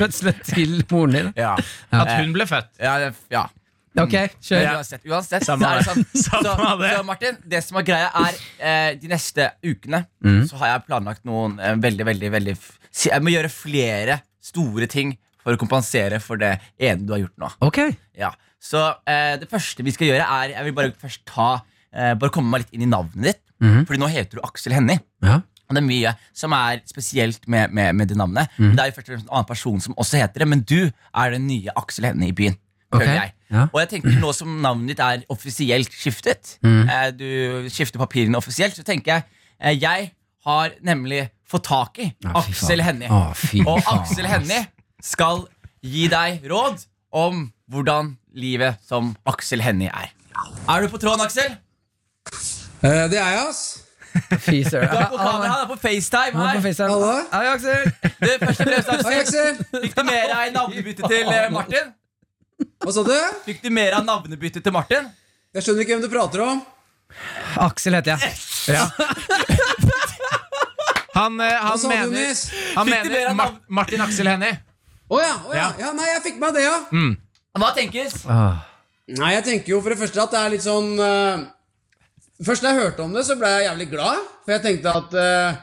S4: Fødselen til moren din.
S5: Ja,
S3: At hun ble født.
S5: ja, det, ja.
S4: Ok, kjør.
S5: Men Uansett, uansett
S3: Samme
S5: så er det sånn.
S3: Samme
S5: så,
S3: det.
S5: så Martin, det som er greia er eh, De neste ukene
S3: Mm.
S5: Så har jeg planlagt noen eh, veldig, veldig, veldig f- si- Jeg må gjøre flere store ting For å kompensere for det ene du har gjort nå
S4: Ok,
S5: ja. Så eh, det første vi skal gjøre er Jeg vil bare først ta eh, Bare komme meg litt inn i navnet ditt
S3: Mm-hmm.
S5: Fordi nå heter du Aksel Hennie
S4: ja.
S5: og det er mye som er spesielt med, med, med det navnet.
S4: Mm.
S5: Det er jo først og fremst en annen person som også heter det, men du er den nye Aksel Hennie i byen. føler
S4: Ok,
S5: Jeg.
S4: ja.
S5: Og jeg tenker nå som navnet ditt er offisielt skiftet,
S4: Mm.
S5: eh, du skifter papirene offisielt, så tenker jeg eh, jeg har nemlig fått tak i
S4: Ja, fy
S5: Aksel
S4: faen.
S5: Hennie.
S4: Å, fy
S5: og
S4: faen,
S5: Aksel
S4: ass.
S5: Hennie skal gi deg råd om hvordan livet som Aksel Hennie er. Er du på tråden, Aksel?
S9: det er jeg, ass.
S4: Fy søren.
S5: Du er på kamera, han er på FaceTime
S4: Han er
S5: her.
S4: på FaceTime.
S9: Hallo?
S4: Hei, Aksel.
S5: Du, først og fremst,
S9: Hei,
S5: Aksel.
S9: Aksel.
S5: Fikk du mer av navnebyttet til eh, Martin?
S9: Hva sa du?
S5: Fikk du mer av navnebyttet til Martin?
S9: Jeg skjønner ikke hvem du prater om.
S4: Aksel heter jeg.
S3: Han, eh,
S9: Hva
S3: han
S9: sa du,
S3: mener,
S9: Jonis?
S3: han
S5: Fikk du mer
S3: mener
S5: av
S3: Mar
S5: navn-
S3: Martin Aksel Hennie.
S9: Å ja, å ja. ja. Nei, jeg fikk med meg det, ja.
S5: Hva tenkes?
S9: Nei, jeg tenker jo for det første at det er litt sånn eh, Først da jeg hørte om det, så ble jeg jævlig glad. For jeg tenkte at eh,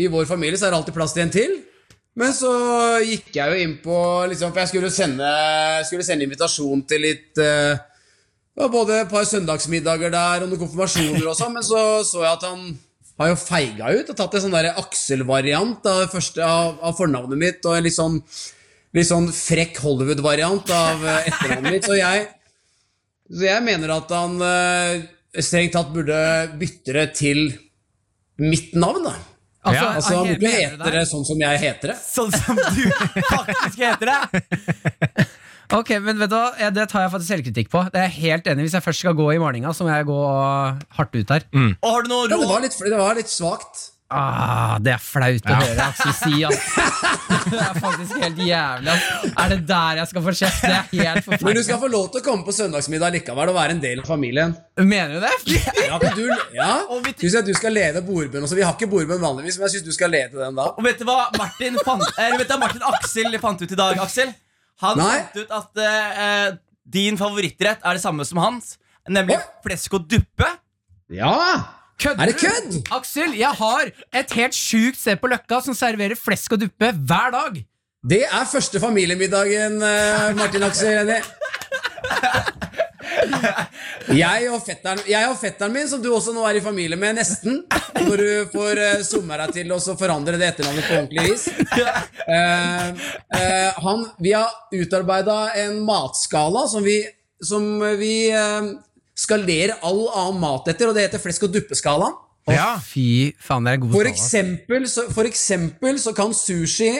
S9: i vår familie så er det alltid plass til en til. Men så gikk jeg jo inn på liksom, For jeg skulle sende, skulle sende invitasjon til litt eh, Det var både et par søndagsmiddager der og noen konfirmasjoner og sånn, men så så jeg at han har jo feiga ut og tatt en sånn der Aksel-variant av, det første- av, av fornavnet mitt og en litt sånn, litt sånn frekk Hollywood-variant av eh, etternavnet mitt. Så jeg, så jeg mener at han eh, strengt tatt burde bytte det til mitt navn, da.
S4: Altså,
S9: Altså, han
S4: ok,
S9: burde sånn
S4: mener du
S9: hete det sånn som jeg heter det.
S5: Sånn som du faktisk heter det?
S4: Ok, men vet du hva? Ja, Det tar jeg faktisk selvkritikk på. Det er jeg helt enig i. Hvis jeg først skal gå i malinga, så må jeg gå hardt ut her.
S5: Og har du noe
S9: Ja, det
S5: råd?
S9: var litt, det var litt svakt.
S4: Ah, det er flaut å høre Aksel si, ass. Det er faktisk helt jævlig, ass. Er det der jeg skal få kjeft? Det er helt
S9: Men du
S4: forferdelig.
S9: skal få lov til å komme på søndagsmiddag likevel og være en del av familien.
S4: Mener du det?
S9: Ja, men du, ja. Syns jeg du skal lede bordbønn også. Vi har ikke bordbønn vanligvis, men jeg syns du skal lede den da.
S5: Og vet du hva Martin, fant, eh, vet du hva Martin Aksel fant ut i dag, Aksel? Han
S9: Nei.
S5: fant ut at eh, eh, din favorittrett er det samme som hans, nemlig
S9: Oi.
S5: flesk og duppe.
S9: Ja!
S4: Kødder
S9: Er det
S4: du?
S9: kødd?
S4: Aksel, jeg har et helt sjukt sted på Løkka som serverer flesk og duppe hver dag.
S9: Det er første familiemiddagen, eh, Martin Aksel Hennie. Jeg og, fetteren, jeg og fetteren min, som du også nå er i familie med, nesten Når du får uh, summa deg til og så forandre det etternavnet på ordentlig vis. Eh, eh, han, vi har utarbeida en matskala som vi, som vi eh, skalerer all annen mat etter, og det heter flesk og duppeskalaen.
S3: Ja.
S4: Fy faen, det er god
S9: For
S4: skala, ass.
S9: eksempel, så, for eksempel så kan sushi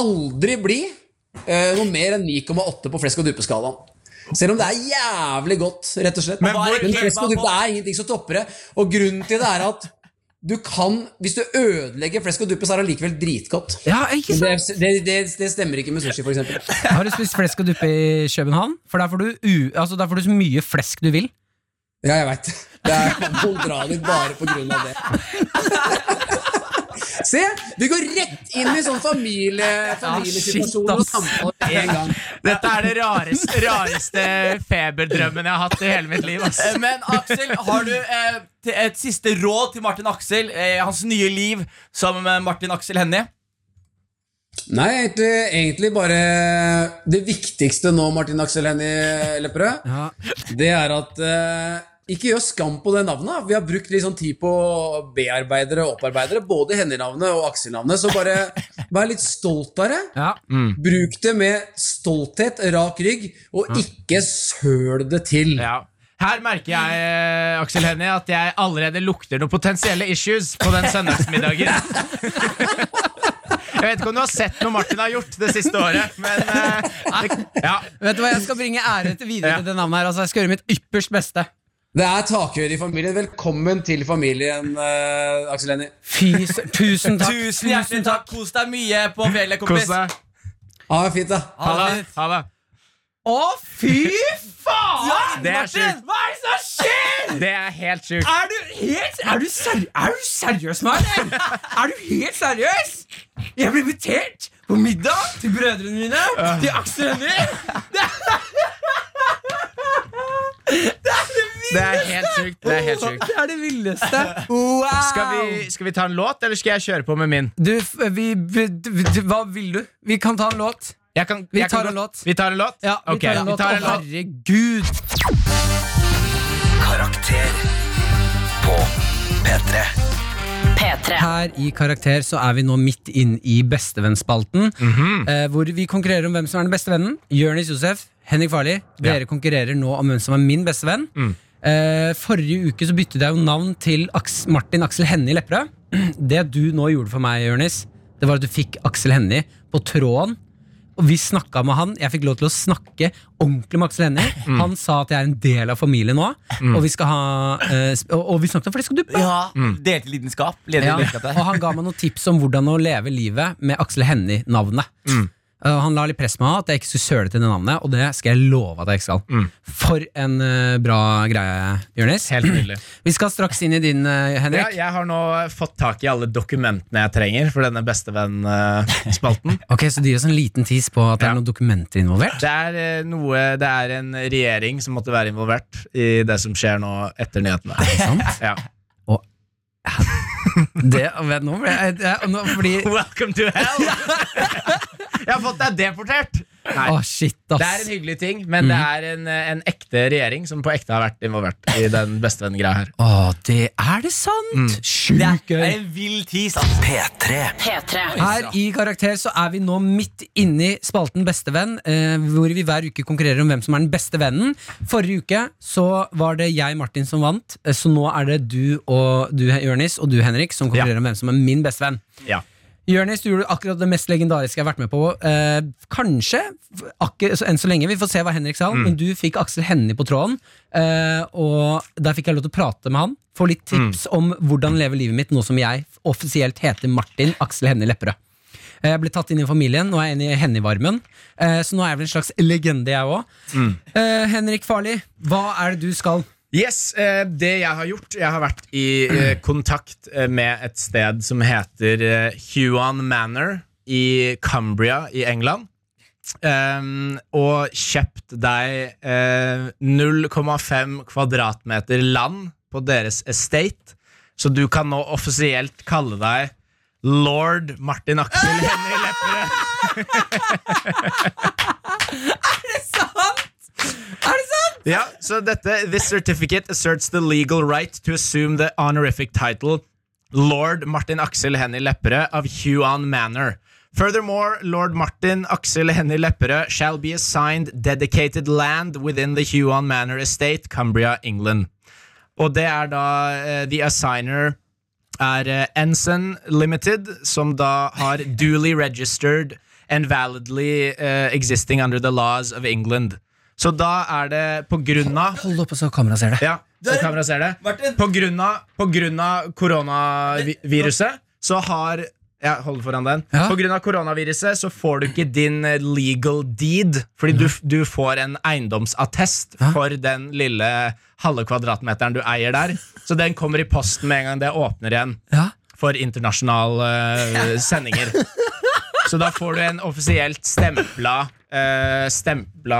S9: aldri bli eh, noe mer enn 9,8 på flesk og duppe-skalaen. Selv om det er jævlig godt, rett og slett. Men,
S5: hva er det kebab
S9: flesk og duppe
S5: på?
S9: er ingenting som topper det. Og grunnen til det er at du kan, hvis du ødelegger flesk og duppe, så er det allikevel dritgodt.
S4: Ja, ikke
S9: Men
S4: sant?
S9: Det, det, det, det stemmer ikke med sushi, for eksempel.
S4: Har du spist flesk og duppe i København? For der får du, u altså, der får du så mye flesk du vil.
S9: Ja, jeg veit. Det er kontradig bare på grunn av det. Se! Du går rett inn i sånn familie, familiesituasjon og
S4: ass.
S9: samtale med en gang.
S3: Dette er det rareste, rareste feberdrømmen jeg har hatt i hele mitt liv. Ass.
S5: Eh, Men Aksel, har du eh, til- et siste råd til Martin Aksel, eh, hans nye liv sammen med Martin Aksel Hennie?
S9: Nei, egentlig, egentlig bare Det viktigste nå, Martin Aksel Hennie Lepperød,
S4: Ja.
S9: det er at eh, ikke gjør skam på det navnet. Vi har brukt litt sånn tid på bearbeidere og opparbeidere, både Hennie-navnet og Aksel-navnet, så bare vær litt stolt av det.
S4: Ja.
S9: Bruk det med stolthet, rak rygg, og ikke søl det til.
S3: Ja. Her merker jeg eh, Aksel Hennie, at jeg allerede lukter noen potensielle issues på den søndagsmiddagen. Jeg vet ikke om du har sett noe Martin har gjort det siste året, men eh, det, ja.
S4: Vet du hva, Jeg skal bringe ære til videre
S3: Ja.
S4: til det navnet. her altså, Jeg skal gjøre mitt ypperst beste.
S9: Det er takhøyde i familien. Velkommen til familien, eh, Aksel Hennie.
S4: Fy, sø- tusen takk.
S5: Tusen hjertelig takk. Kos deg mye på fjellet,
S3: Kos
S5: kompis.
S3: deg.
S9: Ha det fint, da.
S3: Ha det. Ha det.
S4: Å, fy
S5: Ja,
S4: faen!
S3: Det er
S5: Martin,
S3: sjukt.
S5: hva er det som skjer?
S3: Det er helt sjukt.
S4: Er du helt Er du, seri er du seriøs med meg? eller? Er du helt seriøs? Jeg ble invitert på middag til brødrene mine, til Aksel Hennie. Det er- Det er det
S3: Det
S4: villeste!
S3: er helt sjukt. Det er helt sjukt.
S4: Det er det villeste. Wow!
S3: Skal vi, skal vi ta en låt, eller skal jeg kjøre på med min?
S4: Du, f- vi, vi, vi Hva vil du? Vi kan ta en låt.
S3: Jeg kan,
S4: Vi
S3: jeg kan
S4: tar en
S3: godt-
S4: låt.
S3: Vi tar en låt?
S4: Ja, vi
S3: Ok,
S4: tar en låt. Å, herregud!
S1: Karakter på P3.
S7: P3.
S4: Her i Karakter så er vi nå midt inn i bestevennsspalten. eh, hvor vi konkurrerer om hvem som er den beste vennen. Jonis Josef, Henrik Farli. Dere konkurrerer nå om hvem som er min beste venn. Eh, forrige uke så byttet jeg jo navn til Aks Martin Aksel Hennie Lepperød. Det du nå gjorde for meg, Jonis, det var at du fikk Aksel Hennie på tråden. Og vi snakka med han. Jeg fikk lov til å snakke ordentlig med Aksel Hennie. Han sa at jeg er en del av familien nå, og vi skal ha eh, sp- og, og vi snakket om flesk og duppe.
S5: Ja, Delte lidenskap. Leder
S4: Mm. Ja.
S5: lidenskap der.
S4: Og han ga meg noen tips om hvordan å leve livet med Aksel Hennie-navnet.
S3: Mm.
S4: Uh, han la litt press på meg at jeg ikke skulle søle til det navnet, og det skal jeg love at jeg ikke skal.
S3: Mm.
S4: For en uh, bra greie, Jonis.
S3: Helt nydelig.
S4: Vi skal straks inn i din, uh,
S3: Ja,
S4: Henrik.
S3: jeg har nå eh, fått tak i alle dokumentene jeg trenger for denne eh, bestevenn-spalten.
S4: Ok, Så du gir oss en liten tis på at det
S3: Ja.
S4: er noen dokumenter involvert?
S3: Det er, eh, noe, det er en regjering som måtte være involvert i det som skjer nå etter nyhetene. Ja.
S4: Det, vet, nå ble jeg, jeg, nå, fordi
S3: Welcome to hell! Jeg har fått deg deportert! Nei.
S4: Å, shit,
S3: Det er en
S4: ass. Mhm.
S3: hyggelig ting, men det er en, eh, en ekte regjering som på ekte har vært involvert i den bestevenn-greia her.
S4: Å, det er det sant!
S3: Mm.
S4: Sjukt
S5: Det
S4: gøy.
S5: er en vill tis, altså.
S1: P3.
S7: P3.
S4: Her i Karakter så er vi nå midt inni spalten Bestevenn, eh, hvor vi hver uke konkurrerer om hvem som er den beste vennen. Forrige uke så var det jeg, Martin, som vant, eh, så nå er det du og du, Jørnis, og du, Henrik, som konkurrerer om hvem som er min bestevenn.
S3: Ja.
S4: Jonis, du gjorde akkurat det mest legendariske jeg har vært med på. Eh, kanskje, f- akkur- så, enn så lenge. Vi får se hva Henrik sa, men du fikk Aksel Hennie på tråden. eh, og der fikk jeg lov til å prate med han. Få litt tips om hvordan leve livet mitt nå som jeg offisielt heter Martin Aksel Hennie Lepperød. Eh, Jeg ble tatt inn i familien, nå er jeg inne i Henny-varmen. eh, Så nå er jeg vel en slags legende, jeg òg. Henrik Farli, hva er det du skal?
S3: Yes, eh, det jeg har gjort Jeg har vært i eh, kontakt eh, med et sted som heter eh, Huan Manor i Cumbria i England. Um, og kjøpt deg eh, 0,5 kvadratmeter land på deres estate, så du kan nå offisielt kalle deg lord Martin Aksel Hennie Lepperød. Ja, så dette This certificate asserts the legal right to assume the honorific title Lord Martin Aksel Hennie Lepperød of Huan Manor. Furthermore, Lord Martin Aksel Hennie Lepperød shall be assigned dedicated land within the Huan Manor estate, Cumbria, England. Og det er da eh, the assigner er eh, Ensign Limited, som da har duly registered and validly eh, existing under the laws of England. Så da er det på grunn av
S4: Hold opp, og så kameraet ser det.
S3: ja, så kameraet ser det. På grunn av, på grunn av koronaviruset så har ja, hold foran den.
S4: Ja.
S3: På grunn av koronaviruset så får du ikke din eh, legal deed, fordi du, f- du får en eiendomsattest for den lille halve kvadratmeteren du eier der. Så den kommer i posten med en gang det åpner igjen
S4: Ja.
S3: for internasjonale eh, sendinger. Så da får du en offisielt stempla, eh, stempla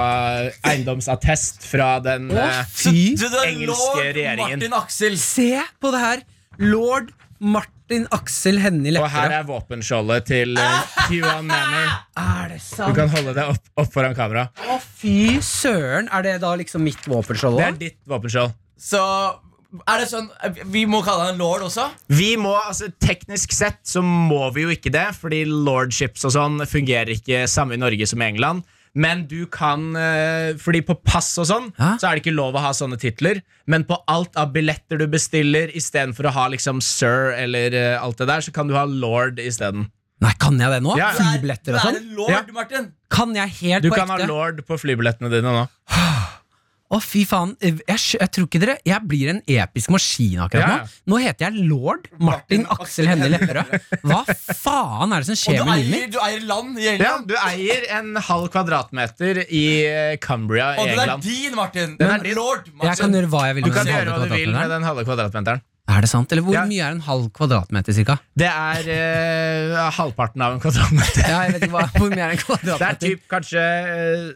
S3: eiendomsattest fra den eh,
S4: Fy
S5: Så det er
S3: Engelske
S5: lord
S3: regjeringen.
S5: Martin Aksel.
S4: Se på det her! Lord Martin Aksel Hennie
S3: Og her
S4: Lepperød.
S3: er våpenskjoldet til eh, Huan Manor.
S4: Er det
S3: Du
S4: sant?
S3: kan holde det opp, opp foran kamera.
S4: Å, fy søren! Er det da liksom mitt våpenskjold
S3: Det er
S4: òg?
S3: ditt våpenskjold.
S5: Så er det sånn Vi må kalle han lord også?
S3: Vi må, altså Teknisk sett så må vi jo ikke det, fordi lordships og sånn fungerer ikke samme i Norge som i England. Men du kan eh, Fordi på pass og sånn
S4: Hæ?
S3: Så er det ikke lov å ha sånne titler. Men på alt av billetter du bestiller, istedenfor å ha liksom sir eller eh, alt det der, så kan du ha lord isteden.
S4: Nei, kan jeg det nå?
S3: Ja.
S4: Flybilletter og
S5: Er
S4: sånn?
S5: det lord
S3: Ja.
S5: Martin?
S4: Kan jeg helt
S3: Du
S4: på
S3: kan ha
S4: ekte?
S3: lord på flybillettene dine nå.
S4: Å, fy faen. Jeg, skj- jeg tror ikke dere Jeg blir en episk maskin akkurat
S3: Ja, ja.
S4: nå. Nå heter jeg lord Martin Aksel Hennie Lepperød. Hva faen er det som
S5: Og
S4: skjer
S5: du
S4: med livet
S5: eier,
S4: mitt?
S5: du eier land i
S3: Ja,
S5: England?
S3: du eier en halv kvadratmeter i eh, Cumbria
S5: Og
S3: i
S5: den er
S3: England.
S5: din, Martin.
S3: Den er
S5: Men
S3: din.
S5: Lord
S4: Jeg kan
S5: Martin.
S4: gjøre hva jeg vil
S3: Du
S4: med
S3: kan
S4: den
S3: gjøre
S4: halve
S3: hva du vil med
S4: kvadratmeteren.
S3: den halve kvadratmeteren.
S4: Er det sant? Eller hvor
S3: Ja.
S4: mye er en halv kvadratmeter, cirka?
S3: Det er eh, halvparten av en kvadratmeter.
S4: Ja, jeg vet ikke hva, hvor mye er en
S3: Det er
S4: kvadratmeter
S3: typ kanskje eh,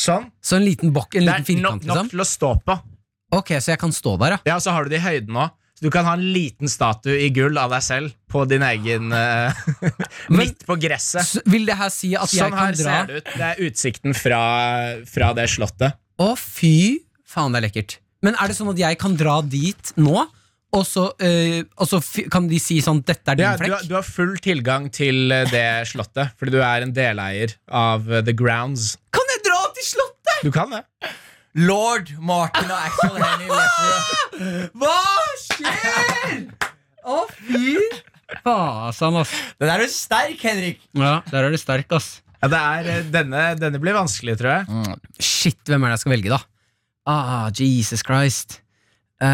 S3: sånn.
S4: Så en liten bokk, en
S3: Det
S4: liten
S3: er nok, nok
S4: firkant, liksom?
S3: til å stå på.
S4: Ok, så jeg kan stå der, ja.
S3: Ja, og så har du det i høyden òg. Så du kan ha en liten statue i gull av deg selv på din egen eh, Midt på gresset.
S4: Så vil det her si at jeg
S3: Sånn her
S4: kan dra
S3: ser det ut. Det er utsikten fra, fra det slottet.
S4: Å, fy faen, det er lekkert. Men er det sånn at jeg kan dra dit nå, og så, eh, og så fi- kan de si sånn 'dette er din
S3: Ja, du, har,
S4: flekk'?
S3: du har full tilgang til eh, det slottet, fordi du er en deleier av eh, The Grounds.
S4: Kan jeg dra til Slottet?!
S3: Du kan det.
S5: Lord Martin og Axel Hennie Lepperød.
S4: Hva skjer?! Å, fy fasan, ass.
S5: Den er jo sterk, Henrik.
S4: Ja, der er du sterk, ass.
S3: Ja, det er, eh, denne, denne blir vanskelig, tror jeg.
S4: Shit, hvem er det jeg skal velge, da? Ah, Jesus Christ. Eh,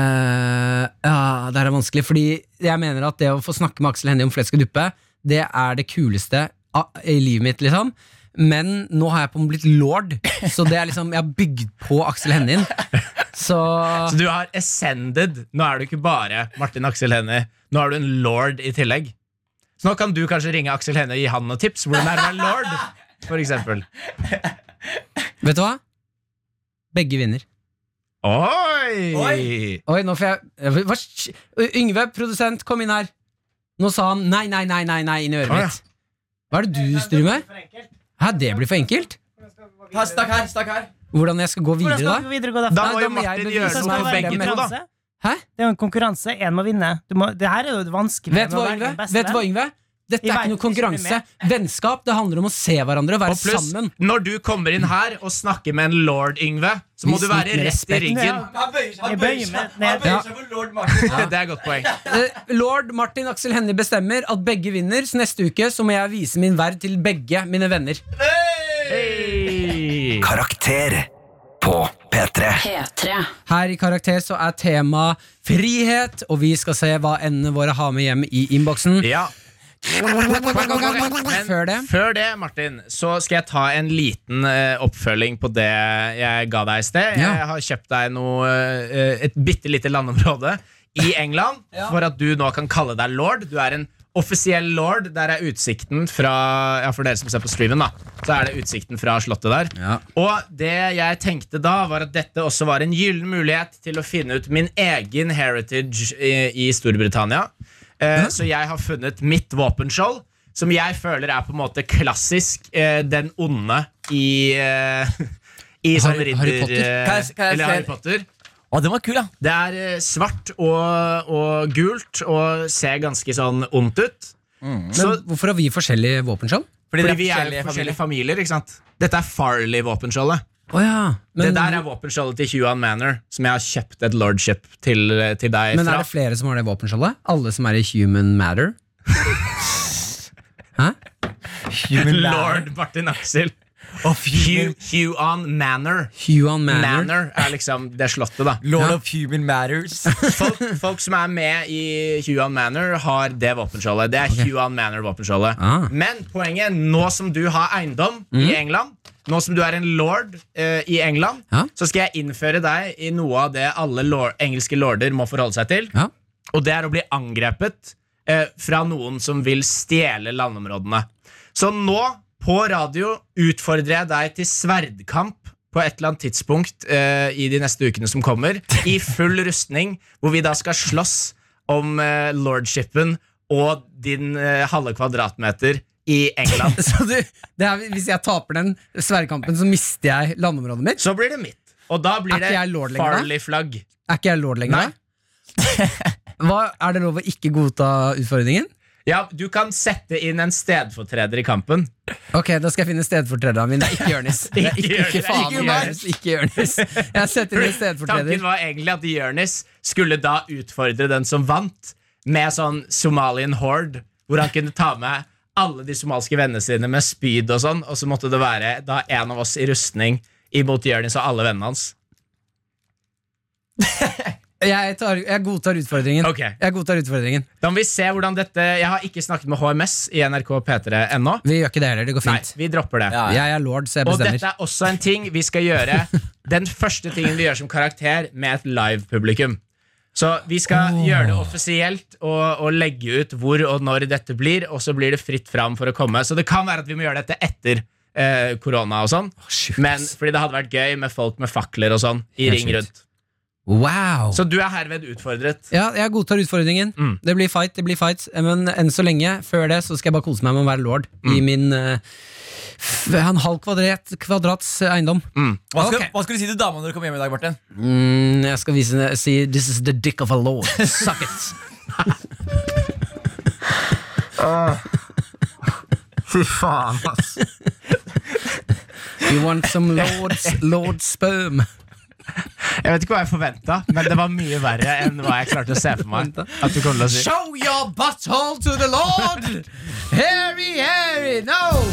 S4: ja, det her er vanskelig, fordi jeg mener at det å få snakke med Aksel Hennie om flesk og duppe, det er det kuleste av- i livet mitt, liksom. Men nå har jeg på meg blitt lord, så det er liksom, jeg har bygd på Aksel Hennie. Så
S3: Så du har ascended. Nå er du ikke bare Martin Aksel Hennie. Nå er du en lord i tillegg. Så nå kan du kanskje ringe Aksel Hennie og gi han noen tips. Hvordan er det å være lord? For eksempel.
S4: vet du hva? Begge vinner.
S3: Oi!
S4: Oi, nå får jeg hva, sk- Yngve, produsent, kom inn her. Nå sa han nei, nei, nei, nei, nei inn i øret
S3: Å, ja.
S4: mitt. Hva er det du styrer med? Hæ, det blir for enkelt?
S5: Her, stakk her, stakk her.
S4: Hvordan jeg skal gå
S10: Hvordan
S4: videre,
S10: skal
S4: da?
S10: vi videre gå derfra?
S3: Da
S4: Nei,
S3: må
S4: da
S3: jo
S4: må jeg
S3: Martin
S4: bevise
S3: gjøre
S10: skal
S4: meg
S10: det
S3: noe på
S10: være en
S3: begge to, da.
S10: konkurranse?
S4: Hæ?
S10: Det er jo en konkurranse. Én må vinne. Du må, det her er jo vanskelig.
S4: Vet du hva, Yngve? Vet du hva, Yngve? Dette
S10: Vi
S4: er
S10: vet
S4: ikke
S10: ikke
S4: noe
S10: så mye
S4: konkurranse. Vennskap det handler om å se hverandre og være
S3: Og pluss,
S4: sammen.
S3: når du kommer inn her og snakker med en lord, Yngve, så må
S4: Vis
S3: du være
S4: litt mer
S3: rett i
S4: respekt.
S3: ryggen.
S10: Han bøyer seg, han bøyer seg ned.
S4: Ja.
S3: Det er et godt poeng.
S4: Eh, Lord Martin Aksel Hennie bestemmer at begge vinner, så neste uke så må jeg vise min verd til begge mine venner.
S1: Karakter på P3.
S7: P3.
S4: Her i Karakter så er tema frihet, og vi skal se hva endene våre har med hjem i innboksen.
S3: Ja. Men
S4: Mm. Før det
S3: før det, Martin, så skal jeg ta en liten eh, oppfølging på det jeg ga deg i sted.
S4: Ja.
S3: Jeg har kjøpt deg noe, eh, et bitte lite landområde i England for at du nå kan kalle deg lord. Du er en offisiell lord. Der er utsikten fra Ja, for dere som ser på streamen, da. Så er det utsikten fra slottet der. Og det jeg tenkte da, var at dette også var en gyllen mulighet til å finne ut min egen heritage i, i Storbritannia. Eh,
S4: Mm.
S3: Så jeg har funnet mitt våpenskjold, som jeg føler er på en måte klassisk eh, den onde i, eh, i sånn
S4: Harry-
S3: ridder...
S4: Harry Potter?
S3: eh,
S5: Kan jeg- kan jeg
S3: eller
S5: se-
S3: Harry Potter.
S5: Å, den var kul, da.
S3: Det er eh, svart og, og gult og ser ganske sånn ondt ut. Så,
S4: Men hvorfor har vi forskjellige våpenskjold?
S5: Mm. Fordi,
S3: fordi
S5: det
S3: vi er
S5: forskjellige
S3: forskjellige
S5: familier.
S3: familier, ikke sant? Dette er Farley-våpenskjoldet.
S4: Å ja.
S3: Det
S4: Men,
S3: der er våpenskjoldet til Huan Manor, som jeg har kjøpt et lordship til, til deg
S4: men
S3: fra.
S4: er det flere som har det våpenskjoldet? Alle som er i Human Matter? Hæ?
S3: Lord Martin Axel. Hu- Huan Manor.
S4: Human Matter?
S3: Manor er liksom det slottet, da.
S5: Lord of Human Matters.
S3: Folk, folk som er med i Huan Manor, har det våpenskjoldet. Det er Huan Manor-våpenskjoldet.
S4: Ah. Mm.
S3: Men poenget, nå som du har eiendom i England, nå som du er en lord eh, i England,
S4: Ja.
S3: så skal jeg innføre deg i noe av det alle lor engelske lorder må forholde seg til.
S4: Ja.
S3: Og det er å bli angrepet eh, fra noen som vil stjele landområdene. Så nå, på radio, utfordrer jeg deg til sverdkamp på et eller annet tidspunkt eh, i de neste ukene som kommer, i full rustning, hvor vi da skal slåss om eh, lordshipen og din eh, halve kvadratmeter i England.
S4: Så du, det er, hvis jeg taper den sverdkampen, så mister jeg landområdet mitt?
S3: Så blir det mitt. Og da blir
S4: Er ikke
S3: det
S4: jeg lord lenger, da?
S3: Farley-flagg.
S4: Er ikke jeg lord lenger?
S3: Nei.
S4: da? Hva, er det lov å ikke godta utfordringen?
S3: Ja, du kan sette inn en stedfortreder i kampen.
S4: Ok, Da skal jeg finne stedfortrederen min. Det er ikke Jonis. Det er Ikke, ikke faen
S3: Ikke meg.
S4: Jonis. Ikke Jonis. Jeg setter inn en
S3: Tanken
S4: stedfortreder.
S3: var egentlig at Jonis skulle da utfordre den som vant, med sånn Somalian horde, hvor han kunne ta med alle de somalske vennene sine med spyd og sånn, og så måtte det være da en av oss i rustning imot Jonis og alle vennene hans.
S4: Jeg, tar, jeg godtar utfordringen.
S3: Ok.
S4: Jeg godtar utfordringen
S3: Da må vi se hvordan dette Jeg har ikke snakket med HMS i NRK P3 ennå.
S4: Vi gjør ikke det heller. Det går
S3: Nei,
S4: fint.
S3: vi dropper det.
S5: Ja,
S4: Jeg
S5: ja.
S4: er lord, så jeg
S3: Og
S4: bestemmer.
S3: dette er også en ting vi skal gjøre Den første tingen vi gjør som karakter Med et live publikum Så vi skal gjøre det offisielt og, og legge ut hvor og når dette blir Og så blir det fritt fram for å komme Så det kan være at vi må gjøre dette etter eh, korona og sånn
S4: sjukt,
S3: Men
S4: ass.
S3: fordi det hadde vært gøy med folk med fakler og sånn I
S4: Helt
S3: ring
S4: sjukt.
S3: rundt
S4: Wow.
S3: Så du er herved utfordret
S4: Ja, jeg godtar utfordringen.
S3: Mm.
S4: Det blir fight, det blir fight. Men enn så lenge, før det, så skal jeg bare kose meg med å være lord
S3: Mm.
S4: i min eh, f- en halv kvadrat, kvadrats eh, eiendom.
S3: Mm.
S5: Hva skal,
S4: Ok.
S5: hva skal du si til dama når du kommer hjem i dag, Martin?
S4: Mm, jeg skal vise si This is the dick of a lord. Suck it.
S3: Ah. Fy faen ass
S4: You want some lords, lord sperm.
S3: Jeg vet ikke hva jeg forventet Men det var mye verre enn hva jeg klarte å se for meg At du kom til å si
S4: Show your butthole to the lord! Harry, Harry, no!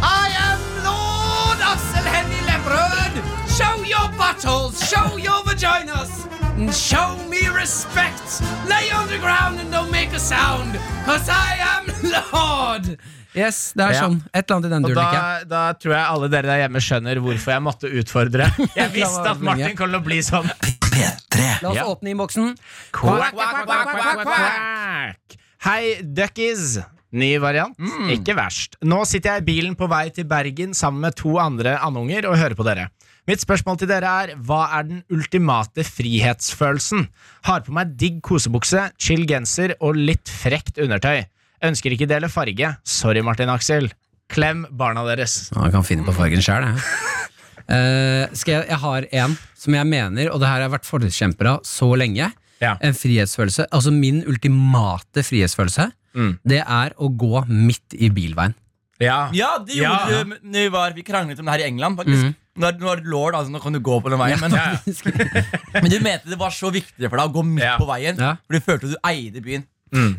S4: I am lord Aksel Hennie Lepperød! Show your buttholes, show your vaginas! And show me respect! Lay on the ground and don't make a sound! Cause I am lord! Yes, det er
S3: Ja.
S4: sånn. Et eller annet i den
S3: Og
S4: duren, ikke?
S3: da, da tror jeg alle dere der hjemme skjønner hvorfor jeg måtte utfordre. Jeg visste at Martin kom til å bli sånn.
S1: P3.
S4: La oss
S3: Ja.
S4: åpne innboksen.
S3: Quack, quack, quack, quack, quack. Hei, duckies. Ny variant. Ikke verst. Nå sitter jeg i bilen på vei til Bergen sammen med to andre andunger og hører på dere. Mitt spørsmål til dere er hva er den ultimate frihetsfølelsen? Har på meg digg kosebukse, chill genser og litt frekt undertøy. Ønsker ikke dele farge. Sorry, Martin Aksel. Klem barna deres.
S4: Ja, jeg kan finne på fargen sjøl, jeg. Eh, skal jeg, jeg har en som jeg mener, og det her har jeg vært forkjemper av så lenge.
S3: Ja.
S4: En frihetsfølelse. Altså min ultimate frihetsfølelse det er å gå midt i bilveien.
S3: Ja,
S5: Ja, det gjorde
S3: Ja. Mhm.
S5: vi når vi var, Vi kranglet om det her i England, faktisk. Nå er, nå er det lord, altså nå kan du gå på den veien. Men,
S3: Ja,
S5: men du mente det var så viktig for deg å gå midt
S3: Ja.
S5: på veien,
S4: Ja.
S5: for du følte du eide byen.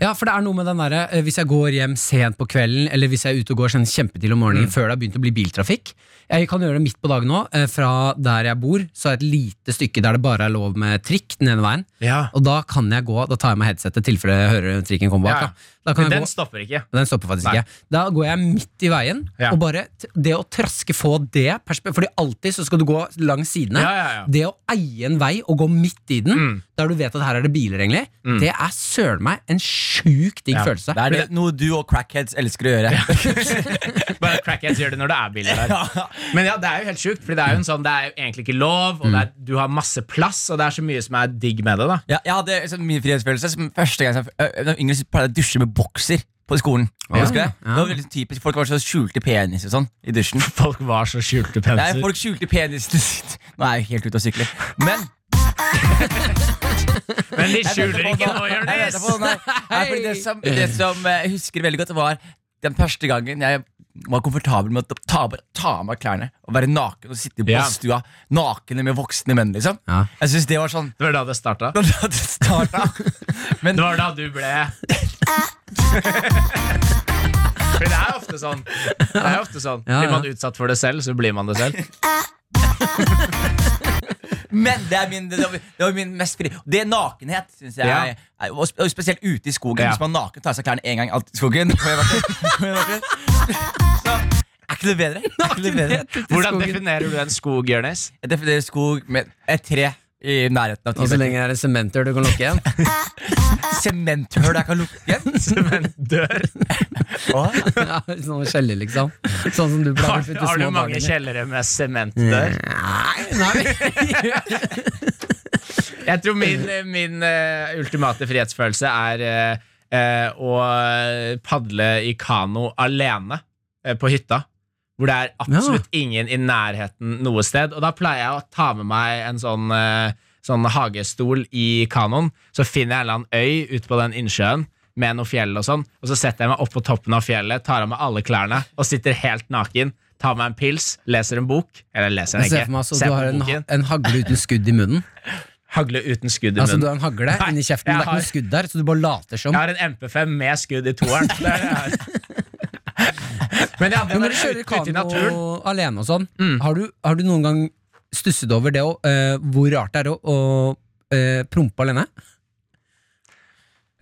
S4: Ja, for det er noe med den derre eh, Hvis jeg går hjem sent på kvelden, eller hvis jeg er ute og går sånn kjempetidlig om morgenen før det har begynt å bli biltrafikk Jeg kan gjøre det midt på dagen nå. eh, Fra der jeg bor, så er det et lite stykke der det bare er lov med trikk den ene veien.
S3: Ja.
S4: Og da kan jeg gå Da tar jeg med headsetet i tilfelle jeg hører trikken komme
S3: Ja, ja.
S4: bak. Da. Da kan jeg
S3: Den
S4: gå,
S3: stopper ikke.
S4: den stopper faktisk
S3: Nei.
S4: ikke. Da går jeg midt i veien,
S3: Ja.
S4: og bare t- det å traske få det perspe- Fordi alltid så skal du gå langs sidene.
S3: Ja, ja, Mm. ja.
S4: Det å eie en vei og gå midt i den, der du vet at her er det biler, egentlig, det er søren meg en sjukt digg
S3: Mm. Ja.
S4: følelse.
S5: Det er det, noe du og crackheads elsker å gjøre.
S3: Bare crackheads gjør det når det er biler der.
S5: Ja.
S3: Men ja, det er jo helt sjukt, Fordi det er jo en sånn, det er jo egentlig ikke lov, og det er, du har masse plass, og det er så mye som er digg med det. da
S5: Ja, jeg hadde liksom, min frihetsfølelse som første gang jeg, jeg, jeg, Yngre pleide jeg å dusje med bokser på skolen. Husker du det? det var veldig typisk, Folk var så skjulte penis og sånn i dusjen.
S3: Folk var så skjulte
S5: Nei,
S3: penser.
S5: folk skjulte penisen sin. Nå er jeg helt ute og sykler. Men
S3: Men de
S5: Jeg
S3: skjuler
S5: venter på
S3: ikke nå,
S5: noe. Jeg venter
S3: Jonis!
S5: på noe. Nei, nei, fordi det, som, det som eh, jeg husker veldig godt, var den første gangen jeg var komfortabel med å ta, ta av meg klærne og være naken og sitte i
S3: Ja.
S5: badstua nakne med voksne menn. liksom
S4: Ja.
S5: Jeg synes det var sånn
S3: Det var da det starta.
S5: da det startet. Men
S3: Det var da du ble For det er ofte sånn. Det er ofte sånn
S4: Ja,
S3: Blir
S4: ja.
S3: man utsatt for det selv, så blir man det selv.
S5: Men det er min, det var, det var min mest fri Det er nakenhet, syns jeg.
S3: Ja.
S5: er- Og sp- og spesielt ute i skogen.
S3: Ja.
S5: Hvis man er naken tar av seg klærne én gang alt i skogen. Får jeg vært det? Får jeg vært det? Så, er ikke det bedre? Er ikke det bedre?
S3: Hvordan definerer du en skog, Jonis?
S5: Jeg definerer skog med et tre i nærheten av ti
S4: Og så
S5: meter.
S4: lenge det er en sementer du kan lukke igjen.
S3: Altså-
S5: Sementhull jeg kan lukke igjen.
S3: Sementdør.
S5: Å,
S4: Ja, sånn skjeller, liksom. Sånn som du pleier å
S3: Har,
S4: putte
S3: har du
S4: små barn
S3: mange
S4: i.
S3: kjellere med sementdør?
S4: Nei.
S3: Jeg tror min, min eh, ultimate frihetsfølelse er eh, eh, å padle i kano alene eh, på hytta. Hvor det er absolutt ingen i nærheten noe sted. Og da pleier jeg å ta med meg en sånn, eh, sånn hagestol i kanoen. Så finner jeg en eller annen øy ute på den innsjøen med noe fjell og sånn. Og så setter jeg meg opp på toppen av fjellet, tar av meg alle klærne og sitter helt naken. Tar meg en pils, leser en bok. Eller leser den
S4: Jeg
S3: ikke.
S4: ser for meg altså,
S3: ser
S4: du
S3: på
S4: har en, ha-
S3: boken.
S4: en hagle uten skudd i munnen.
S3: Hagle uten skudd i
S4: Altså Du
S3: munnen.
S4: har en hagle inni kjeften, det
S3: jeg
S4: er ikke
S3: har-
S4: noe skudd der, så du bare later som.
S3: Jeg har en MP5 med skudd i toeren. Det er det jeg har. Men ja, det var
S4: Men når du kjører
S3: ut, ute i naturen. Mm.
S4: kano alene og sånn, har, du, har du noen gang stusset over det å, eh, hvor rart det er å, å eh, prompe alene?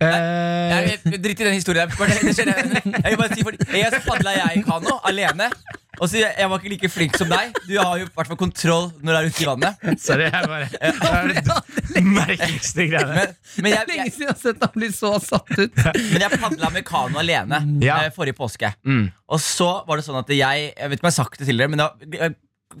S3: Eh,
S5: jeg- jeg- Dritt i den historien. der. Bare- det skjer- Jeg vil bare si fordi Jeg padla jeg i kano alene. Og så jeg, jeg var ikke like flink som deg. Du har jo i hvert fall kontroll når du er ute i vannet.
S3: sorry, jeg bare Det er det merkeligste greiene.
S5: Men, men jeg, jeg,
S4: Lenge siden jeg har sett deg bli så satt ut.
S5: Men jeg padla med kano alene
S3: Ja. Mm.
S5: eh, forrige påske. Og så var det sånn at jeg Jeg vet ikke om jeg har sagt det tidligere, men jeg, jeg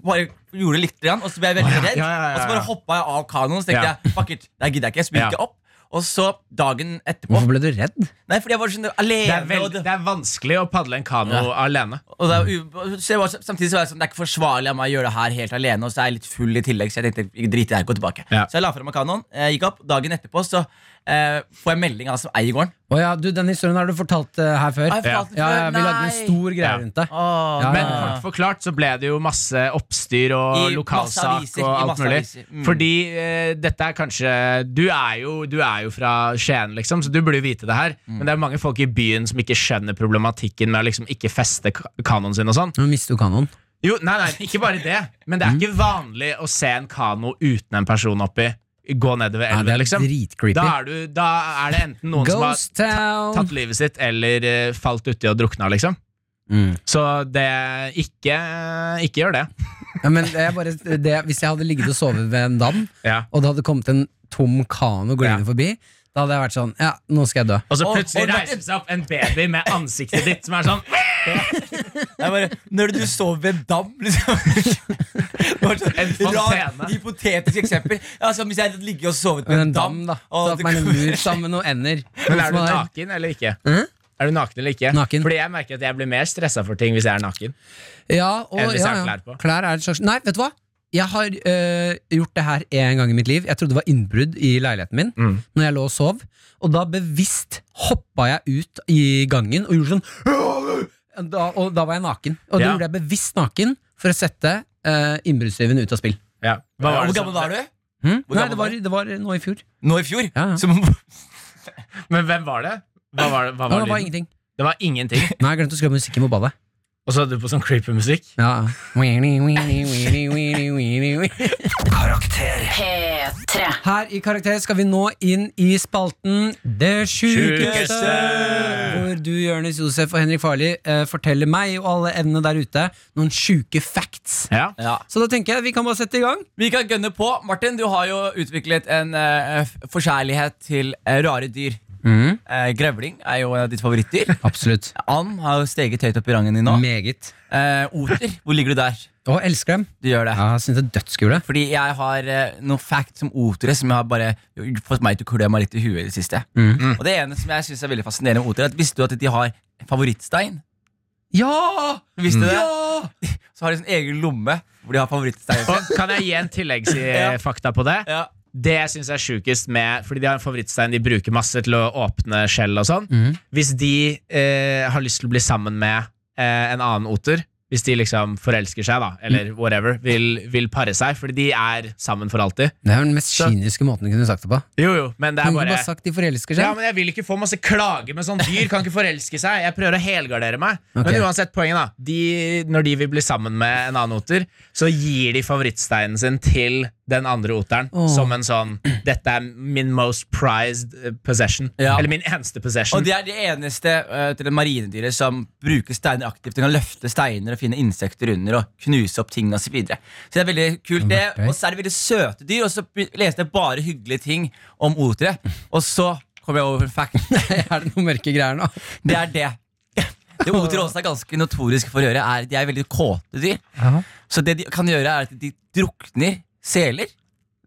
S5: bare gjorde litt, grann, og så ble jeg veldig
S3: Å, ja.
S5: redd.
S3: Ja, ja, ja, ja.
S5: Og så bare hoppa jeg av kanoen, og så tenkte
S3: Ja.
S5: jeg fuck it, det her gidder jeg ikke. Så gikk
S3: Ja.
S5: jeg opp. Og så dagen etterpå
S4: Hvorfor ble du redd?
S5: Nei, fordi jeg var sånn
S3: Det
S5: alene.
S3: er, veld,
S5: og det-
S3: det er vanskelig å padle en kano alene.
S5: og det er u- så jeg var, samtidig så var jeg sånn, det er ikke forsvarlig av meg å gjøre det her helt alene. Og så er jeg litt full i tillegg, så jeg tenkte drit i det her, gå tilbake.
S3: Ja.
S5: Så jeg la fra meg kanoen, eh, gikk opp. Dagen etterpå så eh, får jeg melding av han som eier gården.
S4: Å ja, du, Den historien har du fortalt eh, her før.
S5: Har jeg fortalt det
S4: ja,
S5: før?
S4: ja, vi lagde en
S5: Nei.
S4: stor greie
S3: Ja.
S4: rundt det.
S5: Åh,
S4: Ja,
S3: Men
S4: ja, ja.
S3: kort forklart så ble det jo masse oppstyr og
S5: I masse
S3: lokalsak
S5: aviser,
S3: og
S5: i
S3: alt
S5: masse
S3: mulig.
S5: aviser. Mm.
S3: Fordi eh, dette er kanskje du er, jo, du er jo fra Skien, liksom, så du burde jo vite det
S5: Mm.
S3: her. Men det er mange folk i byen som ikke skjønner problematikken med å liksom ikke feste ka- kanoen sin og sånn.
S4: Nå mister du kanoen.
S3: Jo, nei, nei, ikke bare det. Men det er ikke vanlig å se en kano uten en person oppi. Gå nedover
S4: Ja,
S3: elven,
S4: det er
S3: liksom.
S4: dritcreepy.
S3: Da er, du, da er det enten noen
S4: Ghost
S3: som har
S4: Town.
S3: ta- tatt livet sitt, eller eh, falt uti og drukna, liksom.
S4: Mm.
S3: Så det ikke, ikke gjør det.
S4: Ja, men det er bare, det, hvis jeg hadde ligget og sovet ved en dam,
S3: Ja.
S4: og det hadde kommet en tom
S3: Ja.
S4: kano gående forbi, da hadde jeg vært sånn Ja, nå skal jeg dø.
S3: Og så
S5: Og-
S3: plutselig
S5: og-
S3: reiser det seg opp en baby med ansiktet ditt som er sånn
S5: Jeg bare, når du sover ved en dam liksom. Det var sånn
S3: En fontene.
S5: rart, Hypotetisk eksempel ja, som Hvis jeg hadde ligget og sovet ved
S4: Men
S5: en
S4: en dam, da.
S5: og
S4: Satt
S5: det
S4: meg i en
S5: kom-
S4: mur sammen med noen ender.
S3: Men er du
S4: Noen som har-
S3: naken eller ikke? Er du naken eller ikke?
S4: Naken.
S3: Fordi jeg merker at jeg blir mer stressa for ting hvis jeg er naken.
S4: Ja, og
S3: Eller hvis
S4: ja,
S3: jeg har
S4: ja.
S3: klær på.
S4: Klær er et slags Nei, vet du hva? jeg har eh, gjort det her en gang i mitt liv. Jeg trodde det var innbrudd i leiligheten min
S3: Mm.
S4: Når jeg lå og sov. Og da bevisst hoppa jeg ut i gangen og gjorde sånn da, Og da var jeg naken. Og da
S3: Ja.
S4: gjorde jeg bevisst naken for å sette uh, innbruddstyven ut av spill.
S3: Ja. Hva var
S5: Hvor
S3: det som-
S5: gammel var du?
S4: Hm?
S5: Hvor
S4: Nei,
S5: gammel
S4: det
S5: var
S4: var, det var nå i fjor.
S5: Nå i fjor?
S4: Ja, ja.
S5: Som,
S3: Men hvem var det? Hva var det, hva
S4: Nei,
S3: var
S4: det var
S3: lyden?
S4: ingenting.
S3: det var ingenting.
S4: Nei, jeg glemte å skru av musikken på badet.
S3: Og så hadde du på sånn creepy musikk.
S4: Ja. Weenie, weenie, weenie, weenie, weenie, weenie.
S1: Karakter.
S7: P3.
S4: Her i Karakter skal vi nå inn i spalten Det sjukeste! Hvor du, Jonis Josef og Henrik Farli, eh, forteller meg og alle evnene der ute noen sjuke facts.
S3: Ja.
S5: ja.
S4: Så da tenker jeg vi kan bare sette i gang.
S5: Vi kan gønne på. Martin, du har jo utviklet en eh, f- forkjærlighet til eh, rare dyr.
S4: Mm.
S5: Eh, grevling er jo en av ditt favorittdyr.
S4: Absolutt.
S5: And har jo steget høyt opp i rangen din nå.
S4: Meget.
S5: Eh, oter, hvor ligger du der?
S4: Og elsker dem.
S5: Du gjør det.
S4: Ja, jeg synes det er dødskule.
S5: Fordi jeg har eh, noen facts om otere E som har bare fått meg til å klø meg litt i huet i det siste.
S4: Mm.
S5: Og det ene som jeg synes er veldig fascinerende med otere, er E, at visste du at de har favorittstein?
S4: Mm. Ja!
S5: Visste du det? Så har de sånn egen lomme hvor de har favorittstein.
S3: Og kan jeg gi en tilleggsfakta på det?
S5: Ja.
S3: Det jeg syns er sjukest med Fordi de har en favorittstein de bruker masse til å åpne skjell og sånn. Hvis de eh, har lyst til å bli sammen med eh, en annen oter hvis de liksom forelsker seg, da, eller whatever, vil, vil pare seg, fordi de er sammen for alltid.
S4: Det er jo den mest
S3: Så-
S4: kyniske måten du kunne sagt det på.
S3: Jo, jo, men det
S4: Kunne
S3: er
S4: du ikke
S3: bare
S4: bare sagt de forelsker
S3: Ja,
S4: seg?
S3: men Jeg vil ikke få masse klager med sånn dyr. Kan ikke forelske seg. Jeg prøver å helgardere meg.
S4: Ok.
S3: Men uansett, poenget, da. De, når de vil bli sammen med en annen oter, så gir de favorittsteinen sin til den andre oteren
S4: Åh.
S3: som en sånn 'Dette er min most prized eh, possession'.
S5: Ja.
S3: Eller min eneste possession.
S5: Og det er det eneste eh, til det marinedyret som bruker steiner aktivt. De kan løfte steiner og finne insekter under og knuse opp ting og Så, videre. så det er veldig kult. det
S4: Ok.
S5: Og så er det veldig søte dyr. Og så be- leste jeg bare hyggelige ting om otere. E. Og så kom jeg over en fact.
S4: Er det noen mørke greier nå?
S5: Det er det. Det otere også er ganske notorisk for å gjøre, er de er veldig kåte dyr. Så det de kan gjøre, er at de drukner seler.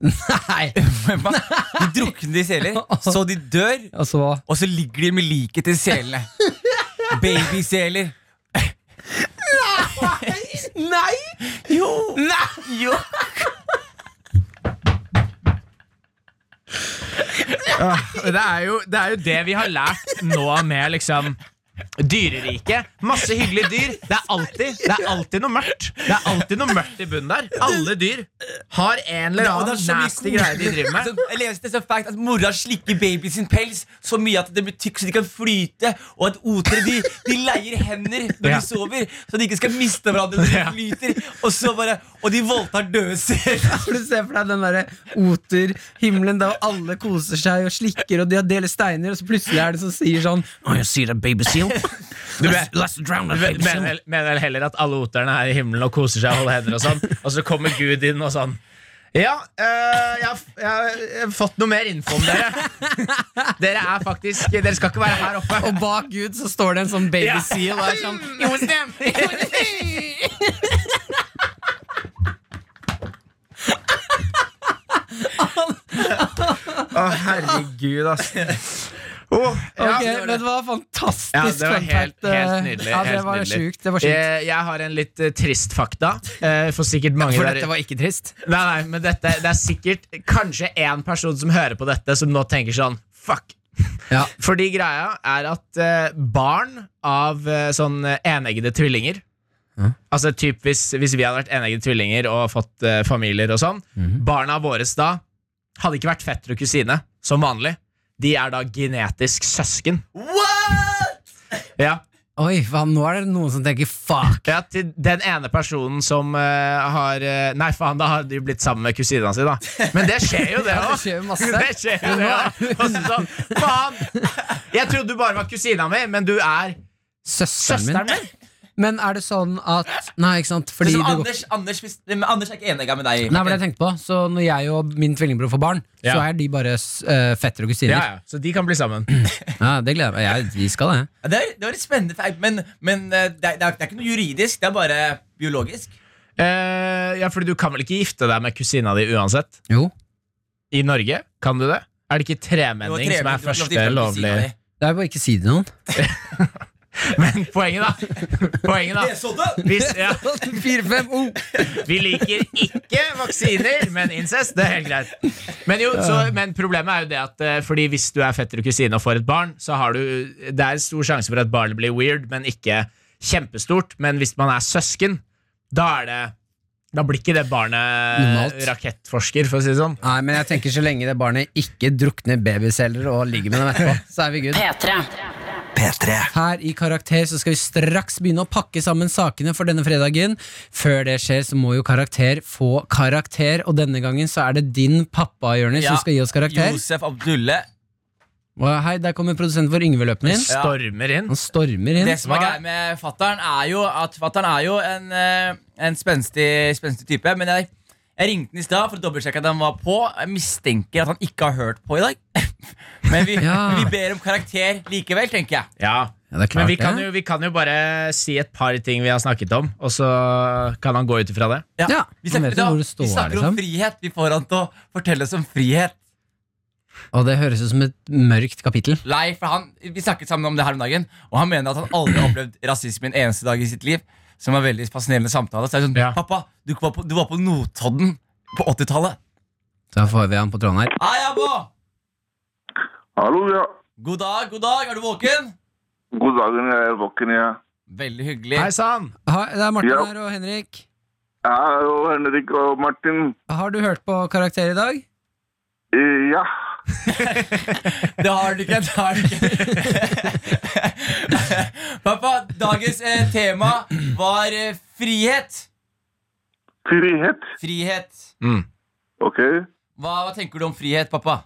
S4: Nei!
S5: De drukner i seler, så de dør.
S4: Og så
S5: Og så ligger de med liket til selene. Babyseler.
S4: Nei!
S5: Jo! jo.
S3: det, er jo, det er jo det vi har lært nå med liksom Dyreriket. Masse hyggelige dyr. Det er alltid, det er alltid noe mørkt. Det er alltid noe mørkt i bunnen der. Alle dyr har en eller
S5: Og det er
S3: annen
S5: så mye
S3: nasty greie de driver med.
S5: Så Jeg leste så fact at mora slikker baby sin pels så mye at det blir tykk så de kan flyte, og at otere de, de leier hender når
S3: Ja.
S5: de sover, så de ikke skal miste hverandre når de flyter. Og, så bare, og de voldtar døde seler.
S4: For du ser for deg den derre oterhimmelen der alle koser seg og slikker og de har deler steiner, og så plutselig er det som sier sånn oh, you see that baby seal? Let's, let's drown that baby
S3: mener,
S4: seal.
S3: vel- mener vel heller at alle oterne er i himmelen og koser seg og holder hender og sånn, og så kommer Gud inn og sånn. Ja, eh, jeg, har, jeg, har, jeg har fått noe mer info om dere. Dere er faktisk Dere skal ikke være her oppe.
S4: Og bak Gud så står det en sånn baby
S3: Ja.
S4: seal og er sånn
S3: Jo, Å, herregud, ass. Åh, ja.
S4: Ok, men det var fantastisk
S3: Ja, det var
S4: fun
S3: helt,
S4: fact, eh,
S3: helt nydelig.
S4: Ja, det
S3: helt
S4: var
S3: nydelig.
S4: sjukt. Det var sjukt.
S3: Eh, jeg har en litt eh, trist fakta. eh, for sikkert mange
S4: For
S3: der-
S4: dette var ikke trist.
S3: Nei, nei, men dette, det er sikkert kanskje én person som hører på dette, som nå tenker sånn Fuck!
S4: Ja.
S3: Fordi greia er at eh, barn av eh, sånn eh, eneggede tvillinger Altså typ hvis, hvis vi hadde vært eneggede tvillinger og fått eh, familier og sånn,
S4: Mhm.
S3: barna våre da hadde ikke vært fetter og kusine, som vanlig. De er da genetisk søsken. Ja.
S4: Oi, faen, nå er det noen som tenker fuck.
S3: Ja, til den ene personen som eh, har eh, Nei, faen, da har de jo blitt sammen med kusina si, da. Men det skjer jo, det
S4: Ja, det
S3: òg.
S4: skjer jo masse.
S3: Det skjer jo, det også. Og så sånn, faen! Jeg trodde du bare var kusina mi, men du er
S4: Søsteren min.
S3: søsteren min!
S4: Men er det sånn at Nei, ikke sant. Fordi
S5: Sånn
S4: det
S5: som
S4: går
S5: Anders, Anders, hvis- men Anders er ikke enig med deg.
S4: Nei, men jeg tenkte på Så når jeg og min tvillingbror får barn, så
S3: Ja.
S4: er de bare uh, fetter og
S3: Ja,
S4: kusiner.
S3: ja, Så de kan bli sammen.
S4: Ja, det gleder jeg meg. Jeg, vi skal det.
S5: Ja, Det, er, det var litt spennende feil, men, men eh, det, er, det er det er ikke noe juridisk, det er bare biologisk.
S3: Eh, ja, fordi du kan vel ikke gifte deg med kusina di uansett?
S4: Jo.
S3: I Norge, kan du det? Er det ikke
S5: Det var
S3: tremenning som er
S5: trevlig, du har ikke lov til å
S3: første
S5: gifte deg med kusina
S3: lovlige
S5: di.
S4: Det er bare ikke si det til noen.
S3: Men poenget, da. Poenget da Hvis, ja.
S4: oh.
S3: Vi liker ikke vaksiner, men incest, det er helt greit. Men, jo, så, men problemet er jo det at eh, Fordi hvis du er fetter og kusine og får et barn, så har du Det er stor sjanse for at barnet blir weird, men ikke kjempestort. Men hvis man er søsken, da er det da blir ikke det barnet
S4: Normalt.
S3: rakettforsker, for å si det sånn.
S4: Nei, men jeg tenker så lenge det barnet ikke drukner babyceller og ligger med dem etterpå, så er vi good.
S7: P3.
S1: P3.
S4: Her i Karakter så skal vi straks begynne å pakke sammen sakene for denne fredagen. Før det skjer, så må jo Karakter få karakter, og denne gangen så er det din pappa, Jonis,
S5: Ja,
S4: som skal gi oss karakter.
S5: Josef Abdulle.
S4: Og Hei, der kommer produsenten vår, Yngve Løpen, inn.
S3: Stormer inn.
S4: Han stormer inn.
S5: Det som er greia med fatter'n, er jo at fatter'n er jo en, eh, en spenstig, spenstig type. Men jeg, jeg ringte han i stad for å dobbeltsjekke at han var på. Jeg mistenker at han ikke har hørt på i dag. Men vi,
S4: Ja.
S5: vi ber om karakter likevel, tenker jeg.
S3: Ja.
S4: Ja, det er klart
S3: Men vi
S4: det.
S3: kan, jo, vi kan jo bare si et par ting vi har snakket om, og så kan han gå ut ifra det.
S4: Ja,
S5: vi
S4: han
S5: snakker,
S4: vet jo
S5: da,
S4: hvor det står,
S5: vi snakker
S4: liksom.
S5: om frihet. Vi får han til å fortelle oss om frihet.
S4: Og det høres ut som et mørkt kapittel.
S5: Lei, for han, Vi snakket sammen om det her om dagen, og han mener at han aldri har opplevd rasisme en eneste dag i sitt liv. Som var en veldig fascinerende samtale. Så jeg er sånn,
S3: Ja.
S5: Pappa, du var på, du var på Notodden på 80-tallet.
S4: Da får vi han på tråden her.
S5: Hei, Abbo!
S8: Hallo, ja.
S5: God dag, god dag. Er du våken?
S8: God dagen, jeg er våken, jeg.
S5: Veldig hyggelig.
S3: Hei sann!
S4: Ha, det er Martin
S8: Ja.
S4: her og Henrik.
S8: Ja, og Henrik og Martin.
S4: Har du hørt på Karakter i dag?
S8: Eh, Ja.
S5: Det har du ikke. det har du ikke. Pappa, dagens eh, tema var eh, frihet.
S8: Frihet.
S5: Frihet.
S4: Mm.
S8: Ok.
S5: Hva, hva tenker du om frihet, pappa?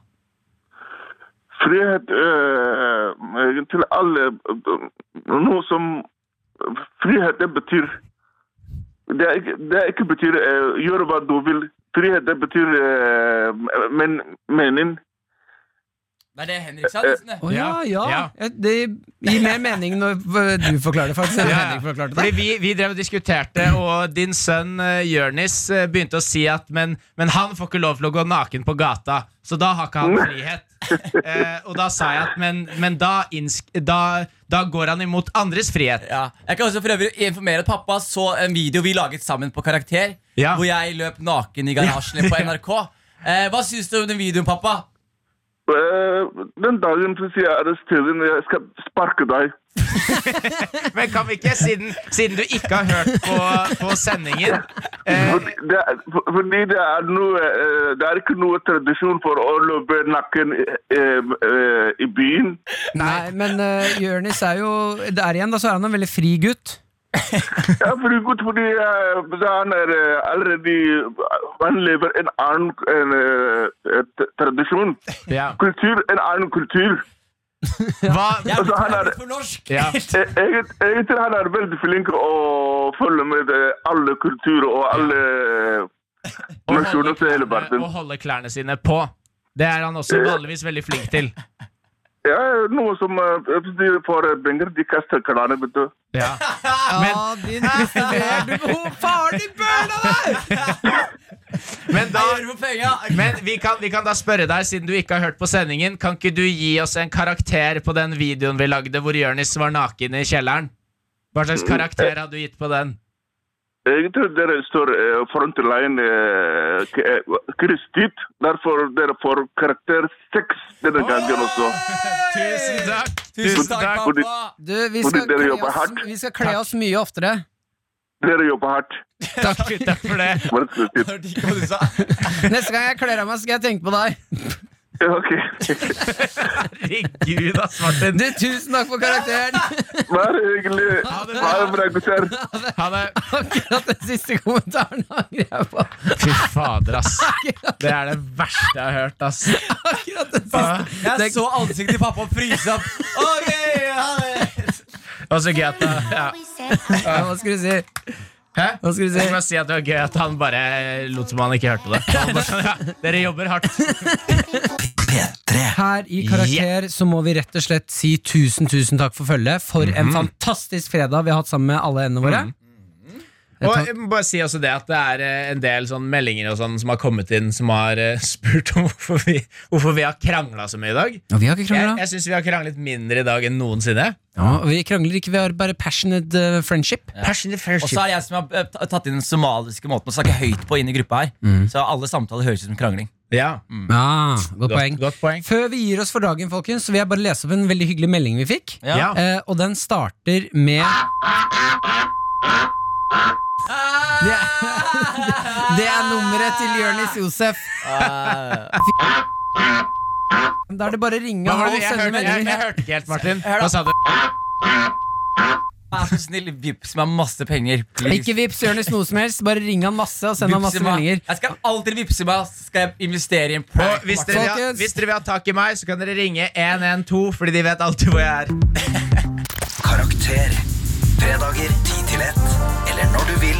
S8: Frihet eh, til alle eh, Noe som Frihet, det betyr Det, er ikke, det er ikke betyr eh, gjør hva du vil. Frihet, det betyr eh, men, mening.
S5: Det er det Henrik sa. nesten, det.
S4: Å ja, ja.
S3: Ja,
S4: Ja, Det gir mer mening når v- du forklarer det, faktisk. enn Henrik forklarte det.
S3: Fordi vi, vi drev og diskuterte, og din sønn uh, Jørnis eh, begynte å si at men, men han får ikke lov til å gå naken på gata, så da har ikke han frihet. Eh, og da sa jeg at men, men da, innsk da, da går han imot andres frihet.
S5: Ja. Jeg kan også for øvrig informere at pappa så en video vi laget sammen på Karakter,
S3: Ja.
S5: hvor jeg løp naken i garasjen på NRK. Eh, hva syns du om den videoen, pappa?
S8: Eh, den dagen du sier jeg arresterer deg, jeg skal sparke deg.
S3: Men kan vi ikke, siden, siden du ikke har hørt på, på sendingen eh,
S8: Fordi det, er- for- fordi det er noe eh, Det er ikke noe tradisjon for å løpe nakken eh, eh, i byen.
S4: Nei, men uh, Jørnis er jo Der igjen, da, så er han en veldig fri gutt.
S8: Ja, fordi godt fordi eh, da han er eh, allerede Han lever en annen eh, eh, t- tradisjon.
S3: ja.
S8: Kultur, en annen kultur.
S3: Hva,
S8: Altså, han er,
S5: For norsk!
S3: ja.
S8: eh, egent- egentlig han er veldig flink å følge med eh, alle kulturer og alle eh,
S3: Å holde
S8: nasjoner til hele
S3: klærne-
S8: verden.
S3: å holde klærne sine på. Det er han også vanligvis veldig flink til.
S8: Ja, noe som eh, de får penger, de kaster klærne, vet du.
S3: Ja.
S4: Ja, din prostituerte oh, Faren din burna deg!
S3: Men da
S5: Jeg gjør det for penga.
S3: Men vi kan, vi kan da spørre deg, siden du ikke har hørt på sendingen, kan ikke du gi oss en karakter på den videoen vi lagde hvor Jonis var naken i kjelleren? Hva slags karakter hadde du gitt på den?
S8: Egentlig dere står eh, frontline eh, k- eh, Kristit, derfor dere får karakter 6 denne gangen også.
S3: Tusen takk!
S5: Tusen takk,
S8: Fordi-
S5: pappa.
S4: Du, vi
S8: Fordi
S4: skal,
S8: dere
S4: kle
S8: jobber
S4: oss,
S8: hardt.
S4: vi skal kle oss mye oftere.
S8: Dere jobber hardt.
S3: Takk, takk for det.
S8: Bare Kristit.
S5: Hørte ikke hva du sa.
S4: Neste gang jeg kler av meg, skal jeg tenke på deg.
S8: Ok.
S3: Herregud, ass, Martin.
S4: Du, Tusen takk for karakteren!
S8: Bare hyggelig. Ha det bra, gutter.
S3: Ha det.
S4: Akkurat den siste kommentaren angrer jeg på.
S3: Fy fader, ass. Det er det verste jeg har hørt, ass.
S4: Akkurat den siste
S5: Jeg så ansiktet til pappa fryse opp. Ok, ha det.
S3: Og så gøy at eh, ja.
S4: Ja, Hva skal du si?
S3: Hæ?
S4: Hva skal du si?
S3: Jeg må si at det var gøy at han bare lot som han ikke hørte det. Han bare sånn, ja, dere jobber hardt.
S1: P3.
S4: Her i Karakter så må vi rett og slett si Mhm. Mm. tusen, tusen takk for følget. For en fantastisk fredag vi har hatt sammen med alle endene våre.
S3: Og jeg må bare si også det at det er eh, en del sånn meldinger og sånn som har kommet inn, som har eh, spurt om hvorfor vi, hvorfor vi har krangla så mye i dag.
S4: Og vi har ikke
S3: Jeg,
S4: krangla.
S3: jeg syns vi har kranglet mindre i dag enn noensinne.
S4: Ja, og vi krangler ikke, vi har bare passionate eh, friendship.
S3: Passionate
S5: Og så er det jeg som har eh, ta- tatt inn den somaliske måten å snakke høyt på inn i gruppa her.
S4: Mm.
S5: Så alle samtaler høres ut som krangling.
S3: Ja,
S4: Ja, godt poeng.
S3: Mm. godt, godt poeng.
S4: Før vi gir oss for dagen, folkens, så vil jeg bare lese opp en veldig hyggelig melding vi fikk.
S5: Ja.
S3: Ja.
S4: Eh, og den starter med det er, det er nummeret til Jonis Josef. Da er det bare å ringe
S3: Ah. Hva var
S4: og
S3: det du- jeg,
S4: sende
S3: hørte, jeg, jeg
S4: meldinger.
S3: hørte ikke helt, Martin. Hva sa du?
S5: Vær så snill, vips meg masse penger.
S4: Ikke vips Jonis noe som helst, bare ring han masse og send han masse
S5: Vipse meg.
S4: meldinger.
S5: Jeg skal alltid vipse meg, så skal jeg investere i en
S3: Og
S5: prank.
S3: hvis dere, vil ha-
S4: Folkens.
S3: hvis dere vil ha tak i meg, så kan dere ringe 112, fordi de vet alltid hvor jeg er.
S1: Karakter. Fredager 10 til 1. Eller når du vil